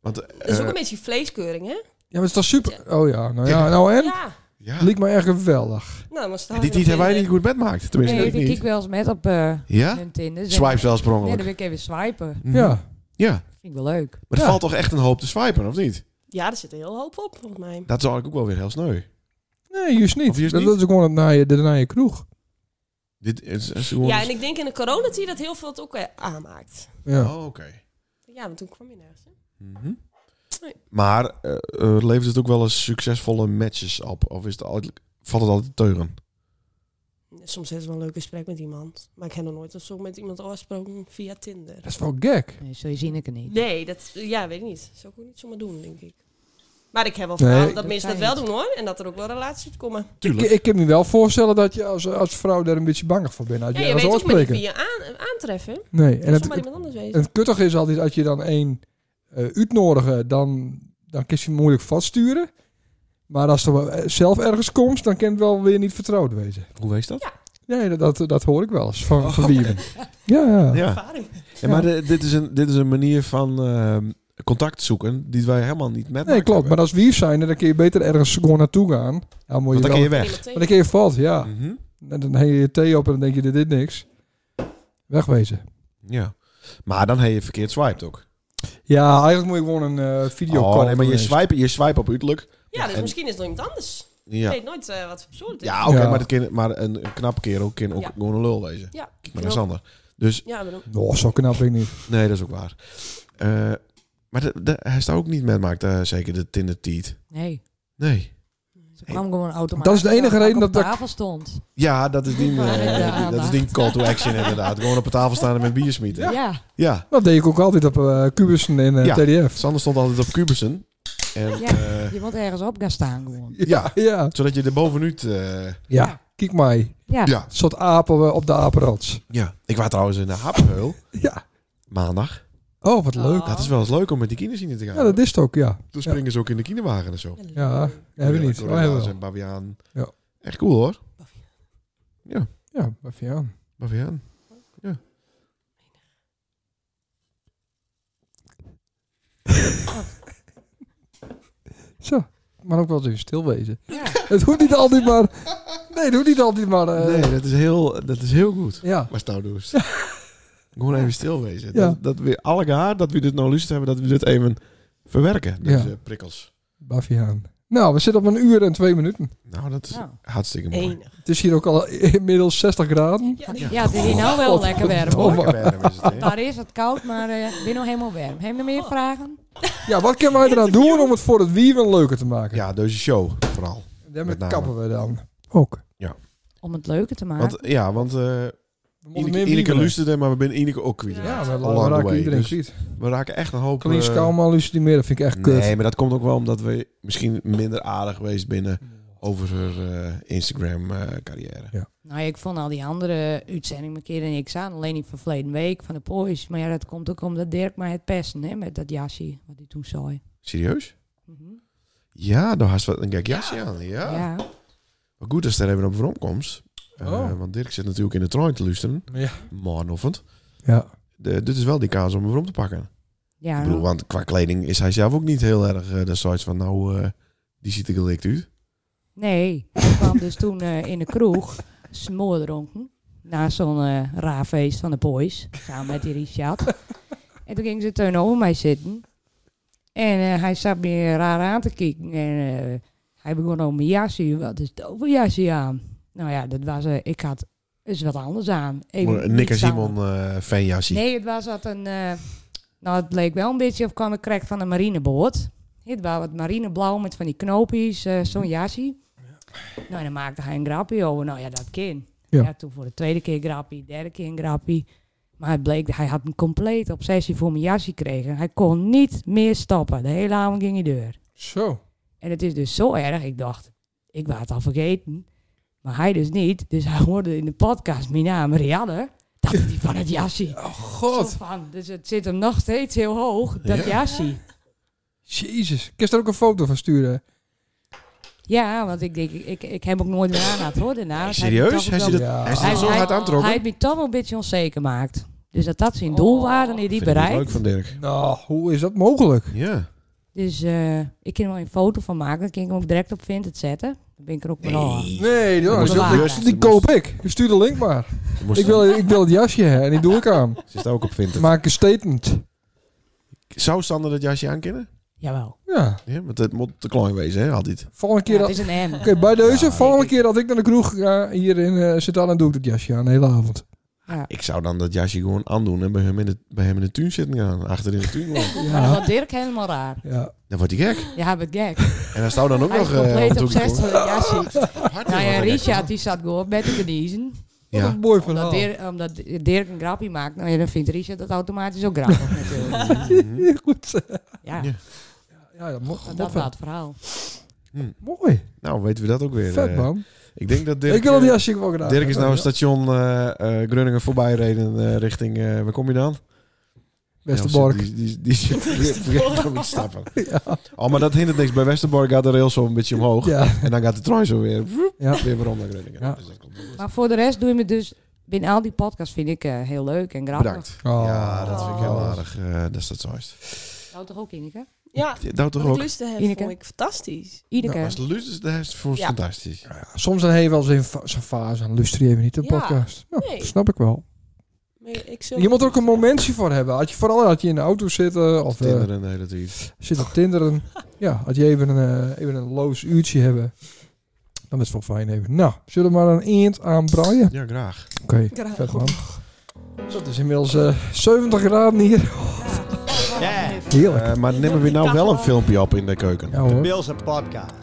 Want, eh,
Dat is ook een beetje vleeskeuring, hè?
ja maar het is toch super... Oh ja, nou ja, nou en?
Ja.
ja,
Liek me echt geweldig.
Nou, maar
die, die hebben wij niet goed met maakt. Tenminste,
Nee,
ik
ik
niet. Ah.
kijk wel eens met op eh
Ja?
hun Tinder. Dus
Swipe zelfs per
dan- Ja,
ongeluk.
dan wil ik even swipen.
Mhm.
Ja.
Ja,
Vind ik wel leuk.
maar er
Ja.
valt toch echt een hoop te swipen, of niet?
Ja, daar zit een heel hoop op, volgens mij.
Dat is eigenlijk ook wel weer heel sneu.
Nee, juist niet.
Of juist
dat,
niet?
dat is gewoon het naaie, de naaie kroeg.
Dit is, is gewoon- dus-
Ja, en ik denk in de coronatijd dat heel veel het ook eh, aanmaakt.
Ja.
Oh, oké.
Ja, want toen kwam je nergens. hè?
Mhm.
Nee.
Maar eh, eh, levert het ook wel eens succesvolle matches op? Of is het altijd, valt het altijd teuren?
Soms is het wel een leuk gesprek met iemand. Maar ik heb nog nooit of zo met iemand afgesproken via Tinder.
Dat is wel gek.
Nee, zo zie ik het niet.
Nee, dat ja, weet ik niet. Zou ik ook niet zomaar doen, denk ik. Maar ik heb wel
Nee.
verhalen dat,
Dat
mensen dat
kan
wel
niet.
doen hoor. En dat er ook wel relaties komen.
Ik, ik kan me wel voorstellen dat je als, als vrouw daar een beetje bang voor bent. Als
Ja,
je,
je
als
weet ook maar niet
oorspreker.
wie je aan, aantreffen.
Nee, en
En
het,
zomaar
het,
iemand anders
en
weten.
het kuttige is altijd als je dan één eh uitnodigen, dan, dan kun je hem moeilijk vaststuren. Maar als er wel, eh, zelf ergens komt, dan kan het wel weer niet vertrouwd wezen.
Hoe wees dat?
Nee, dat, dat, dat hoor ik wel eens van, van wie. Ja, Oh.
Ja.
ja.
Ervaring.
Ja, maar de- dit, is een, dit is een manier van ehm, contact zoeken die wij helemaal niet met
Nee,
elkaar
klopt. Maar
hebben.
als wief zijn, dan kun je beter ergens gewoon naartoe gaan. Ja, moet
Want dan
je wel,
kun je
want
weg.
dan kun je vast, ja.
Mhm.
En dan hang je je thee op en dan denk je, dit is niks. Wegwezen.
Ja. Maar dan heb je verkeerd swiped ook.
Ja, eigenlijk moet je gewoon een eh video
Oh, nee, maar je swipe, je swipe op uiterlijk.
Ja, dus
En-
misschien is het nog iemand anders.
Ja,
Ik weet nooit eh, wat voor persoon het is.
ja oké,
Ja.
maar, dat kan- maar een, een knap kerel kan ook
Ja.
gewoon een lul wezen.
Ja,
Maar dat is ander. Dus
ja, maar dan-
Oh, zo knap ben ik niet.
nee, dat is ook waar. Eh, maar de, de, hij staat ook niet met maakt eh, zeker de Tinder Teat.
Nee.
Nee.
Ze kwam gewoon automatisch.
Dat is de enige
terwijl
reden
ik op
dat ik-
tafel stond.
Ja, dat is die, eh,
Ja,
die- dat is die call to action inderdaad. Gewoon op een tafel staan en met bier smieten.
Ja.
Ja.
Dat deed ik ook altijd op eh Cubussen in eh,
Ja.
TDF.
Sander stond altijd op Cubussen. En,
Ja.
eh,
Je moet ergens op gaan staan gewoon.
ja,
Ja.
zodat je er bovenuit... eh
Ja. Kijk mij.
Ja.
ja.
Een soort apen eh, op de apenrots.
ja. Ik was trouwens in de Haapheul
Ja.
maandag.
Oh, wat leuk.
Ah.
Dat is wel eens leuk om met die kinderzien te gaan.
Ja, dat is het ook, ja.
Toen springen ze ook in de kinderwagen en zo.
Ja, dat hebben we niet. Oh, hebben we
Gorilla's
wel.
en baviaan.
Ja.
Echt cool hoor.
Ja, wat vind je aan?
Baviaan. Ja.
Zo. Maar ook wel eens even stilwezen.
Ja.
Het hoeft niet altijd maar... Nee, het hoeft niet altijd maar... eh,
Nee, dat is heel, dat is heel goed.
Ja.
Maar nou dus. Gewoon even stil wezen.
Ja.
Dat, dat we alle haar dat we dit nou lust hebben, dat we dit even verwerken.
Ja.
Deze prikkels.
Baviaan. Nou, we zitten op een uur en twee minuten.
Nou, dat is
Nou.
hartstikke mooi.
Enig.
Het is hier ook al inmiddels 60 graden.
Ja, die-
Ja, het is hier nou wel lekker warm
Oh,
hoor.
lekker warm is het, hè?
Daar is het koud, maar eh, ik ben nog helemaal warm. Heb je nog meer vragen?
Ja, wat kunnen wij eraan doen om het voor het wieven leuker te maken?
Ja, deze show vooral.
Daarmee
met name.
kappen we dan. Ook.
Om het leuker te maken.
Want, ja, want eh
We moeten
Ineke,
meer
Ineke
wievelen.
luisterde, maar we zijn Ineke ook kwijt.
Ja, we,
Along the
we raken
way,
iedereen
dus-
kwijt.
We raken echt een hoop...
Clean
eh,
Schouwman luistert niet meer, dat vind ik echt kut.
Nee, maar dat komt ook wel omdat we misschien minder aardig geweest binnen over haar eh, Instagram-carrière.
Nou, ja, ik vond al die andere uitzendingen keer niks aan. Alleen die van verleden week van de Poys. Maar ja, dat komt ook omdat Dirk mij het pesten, hè, met dat jasje wat hij toen zei.
Serieus?
Mhm.
Ja, daar had ze wat een gek jasje aan. Ja.
Ja.
Maar goed, dat is er even op voor omkomst. Eh,
Oh.
want Dirk zit natuurlijk in de trein te luisteren.
Ja.
Morgenochtend.
Ja.
De- Dit is wel die kaas om hem om te pakken.
Ja,
Ik bedoel,
nou,
want qua kleding is hij zelf ook niet heel erg eh de soort van... Nou, eh, die ziet er gelikt uit.
nee. Ik kwam dus toen eh, in de kroeg, smoordronken. Na zo'n eh raar feest van de Poys. Samen met die Richard. En toen ging ze tegenover mij zitten. En eh, hij zat me raar aan te kijken. En eh, hij begon over mijn jasje. Wat is het over jasje aan? Nou ja, dat was... eh, ik had eens wat anders aan. Even
Een Nick en
niks aan.
Simon eh fanjasje.
Nee, het was wat een... eh, nou, het leek wel een beetje of kwam ik krijg van een marineboord. Het was wat marineblauw met van die knoopjes, eh, zo'n jasje. Nou, en dan maakte hij een grapje over. Nou ja, dat kind.
Ja.
Ja. toen voor de tweede keer grapje, derde keer een grapje. Maar het bleek, hij had een complete obsessie voor mijn jasje gekregen. Hij kon niet meer stoppen. De hele avond ging hij deur.
Zo.
En het is dus zo erg. Ik dacht, ik was het al vergeten. Maar hij dus niet. Dus hij hoorde in de podcast mijn naam Rianne. Dacht hij van het jasje.
Oh god.
Zo van, dus het zit hem nog steeds heel hoog, dat jasje.
Jezus. Kun je er ook een foto van sturen?
Ja, want ik denk, ik, ik heb ook nooit meer aan het hoor daarna. want hij heeft me
Serieus?
toch
Hij
ook
zit dat,
Ja.
wel-
hij zit dat
Hij-
zo hard aantrokken. Oh,
Hij heeft me toch wel een beetje onzeker gemaakt. Dus dat dat zijn doel waren, die die bereikt.
Leuk van Dirk.
Nou, hoe is dat mogelijk?
Ja.
Dus eh, ik kan er wel een foto van maken. Dan kan ik hem ook direct op Vinted zetten. Dan ben ik er ook wel aan.
Nee, joh,
moest
dat-
bewaren.
dat- die koop ik. Stuur de link maar.
Je moest-
Ik wil, ik wil het jasje hè, en die doe ik aan.
Ze staat ook op Vinted.
Maak een statement.
Zou Sander dat jasje aankennen?
Jawel.
Ja,
Ja, want het moet te klein wezen, hè, altijd.
volgende
Ja,
keer...
het
dat-
is een M.
Oké, bij deze,
Ja,
volgende
ik-
keer dat ik naar de kroeg ga hier in eh sint dan doe ik dat jasje aan de hele avond.
Ik zou dan dat jasje gewoon aandoen en bij hem in de, bij hem in de tuin zitten gaan. Achter in de tuin gewoon.
Maar dan
Ja,
gaat Dirk helemaal raar.
ja.
Dan wordt hij gek.
Ja, met gek.
En dan zou dan ook
Hij is
nog... eh, om
compleet
toe te
obsessief
komen.
van het jasje.
Hartje
Nou ja,
wordt hij gek.
Richard die zat gewoon met te geniezen.
Wat
Ja.
een mooi
Omdat
verhaal.
Dirk, omdat Dirk een grapje maakt, nou ja, dan vindt Richard dat automatisch ook grappig natuurlijk.
Goed.
Ja,
Ja.
Ja, dat mocht.
dat was het verhaal.
Mooi.
Nou, weten we dat ook weer.
Vet
eh.
man.
Ik denk dat Dirk...
ik wil dat
eh,
jasje ook wel gedaan.
Dirk is nou
Ja.
een station eh eh Groningen voorbij reden eh, richting... eh, waar kom je dan?
Westerbork.
Ja, die, die, die, die vergeet om te stappen. Oh, maar dat hindert niks. Bij Westerbork gaat de rail zo een beetje omhoog.
Ja.
En dan gaat de trein zo weer, woep,
Ja.
weer weer om naar Groningen.
Ja.
Dus dat komt wel goed.
Maar voor de rest doe je me dus... Binnen al die podcasts vind ik eh, heel leuk en grappig.
Bedankt.
Oh.
Ja, dat vind ik heel
Oh.
aardig. eh, dat is dat zo is.
Nou toch ook, Ineke?
Ja,
Nou toch
wat ik
ook.
lust te hebben
Ineke.
vond ik fantastisch.
Ineke.
Als Luus dat is voor
Ja.
fantastisch.
Soms dan heb je wel eens een fa- zo'n fase. Dan luister je even niet de
Ja.
podcast. Nou,
Nee.
snap ik wel.
Maar ik zou-
Je moet er ook een momentje voor hebben. Had je vooral dat je in de auto zit eh, of eh,
Tinderen de hele tijd.
zit op tinderen. ja, had je even een, eh, even een loos uurtje hebben. Dan is het wel fijn even. Nou, zullen we maar een eend aan braaien?
Ja, graag.
Oké,
Graag.
vet man. Zo, het is inmiddels eh, 70 graden hier.
Ja,
Heerlijk.
Eh, maar nemen we nou wel een filmpje op in de keuken.
Ja hoor.
Bills podcast.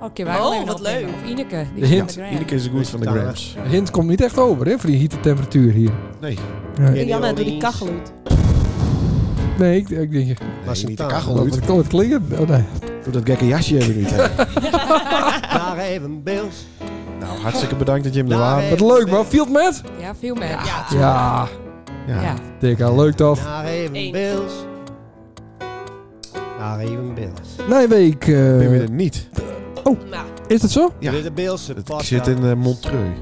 Oké, wij
Oh,
gaan even
wat
opnemen.
leuk.
Of Ineke.
De
Die is
hint.
op de gram.
Iedere keer zo goed van de grams.
De hint komt niet echt over, hè, voor die hitte temperatuur hier.
Nee,
Nee,
En Janne, doe die kachel uit.
nee ik, ik denk,
nee niet de
Sint-Anne.
kachel uit.
dat kan het klinken. Oh, nee.
Doe dat gekke jasje even niet. hè.
Daar even Bills.
nou, hartstikke bedankt dat je hem er
Daar
waren.
even
Wat leuk
Bills.
man, Field Met?
Ja, veel meer. Ja.
Ja,
Ja,
Ja.
Ja.
denk aan leuk toch?
Daar even
Eén.
Bills. Daar even Bills.
Nijweek, eh,
Ben je er niet?
nou,
is dat zo?
Ja.
Dit is de Bills
Het- Ik
podcast.
zit in eh, Montreux.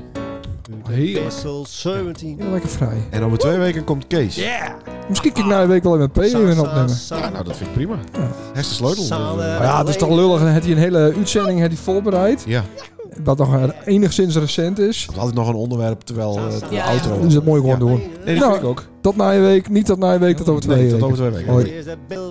Heerlijk.
Bissel 17.
Heel lekker vrij.
En over twee weken komt Kees.
Yeah!
Misschien kan ik Nijweek wel even P weer opnemen.
Ja, nou, dat vind ik prima.
Ja.
Hij is de sleutel.
Samen.
Maar ja, het is toch lullig. Dan had hij een hele uitzending had hij voorbereid.
Ja,
Wat nog eh, enigszins recent is.
we hadden nog een onderwerp terwijl eh, het
Ja.
outro.
Dus dat mooi gewoon
Ja.
doen.
Nee, dat
Nou,
vind ik ook.
Tot na je week. Niet tot na je week, tot over twee
Nee,
weken.
tot over twee weken.
Hoi.
Here's the Bills.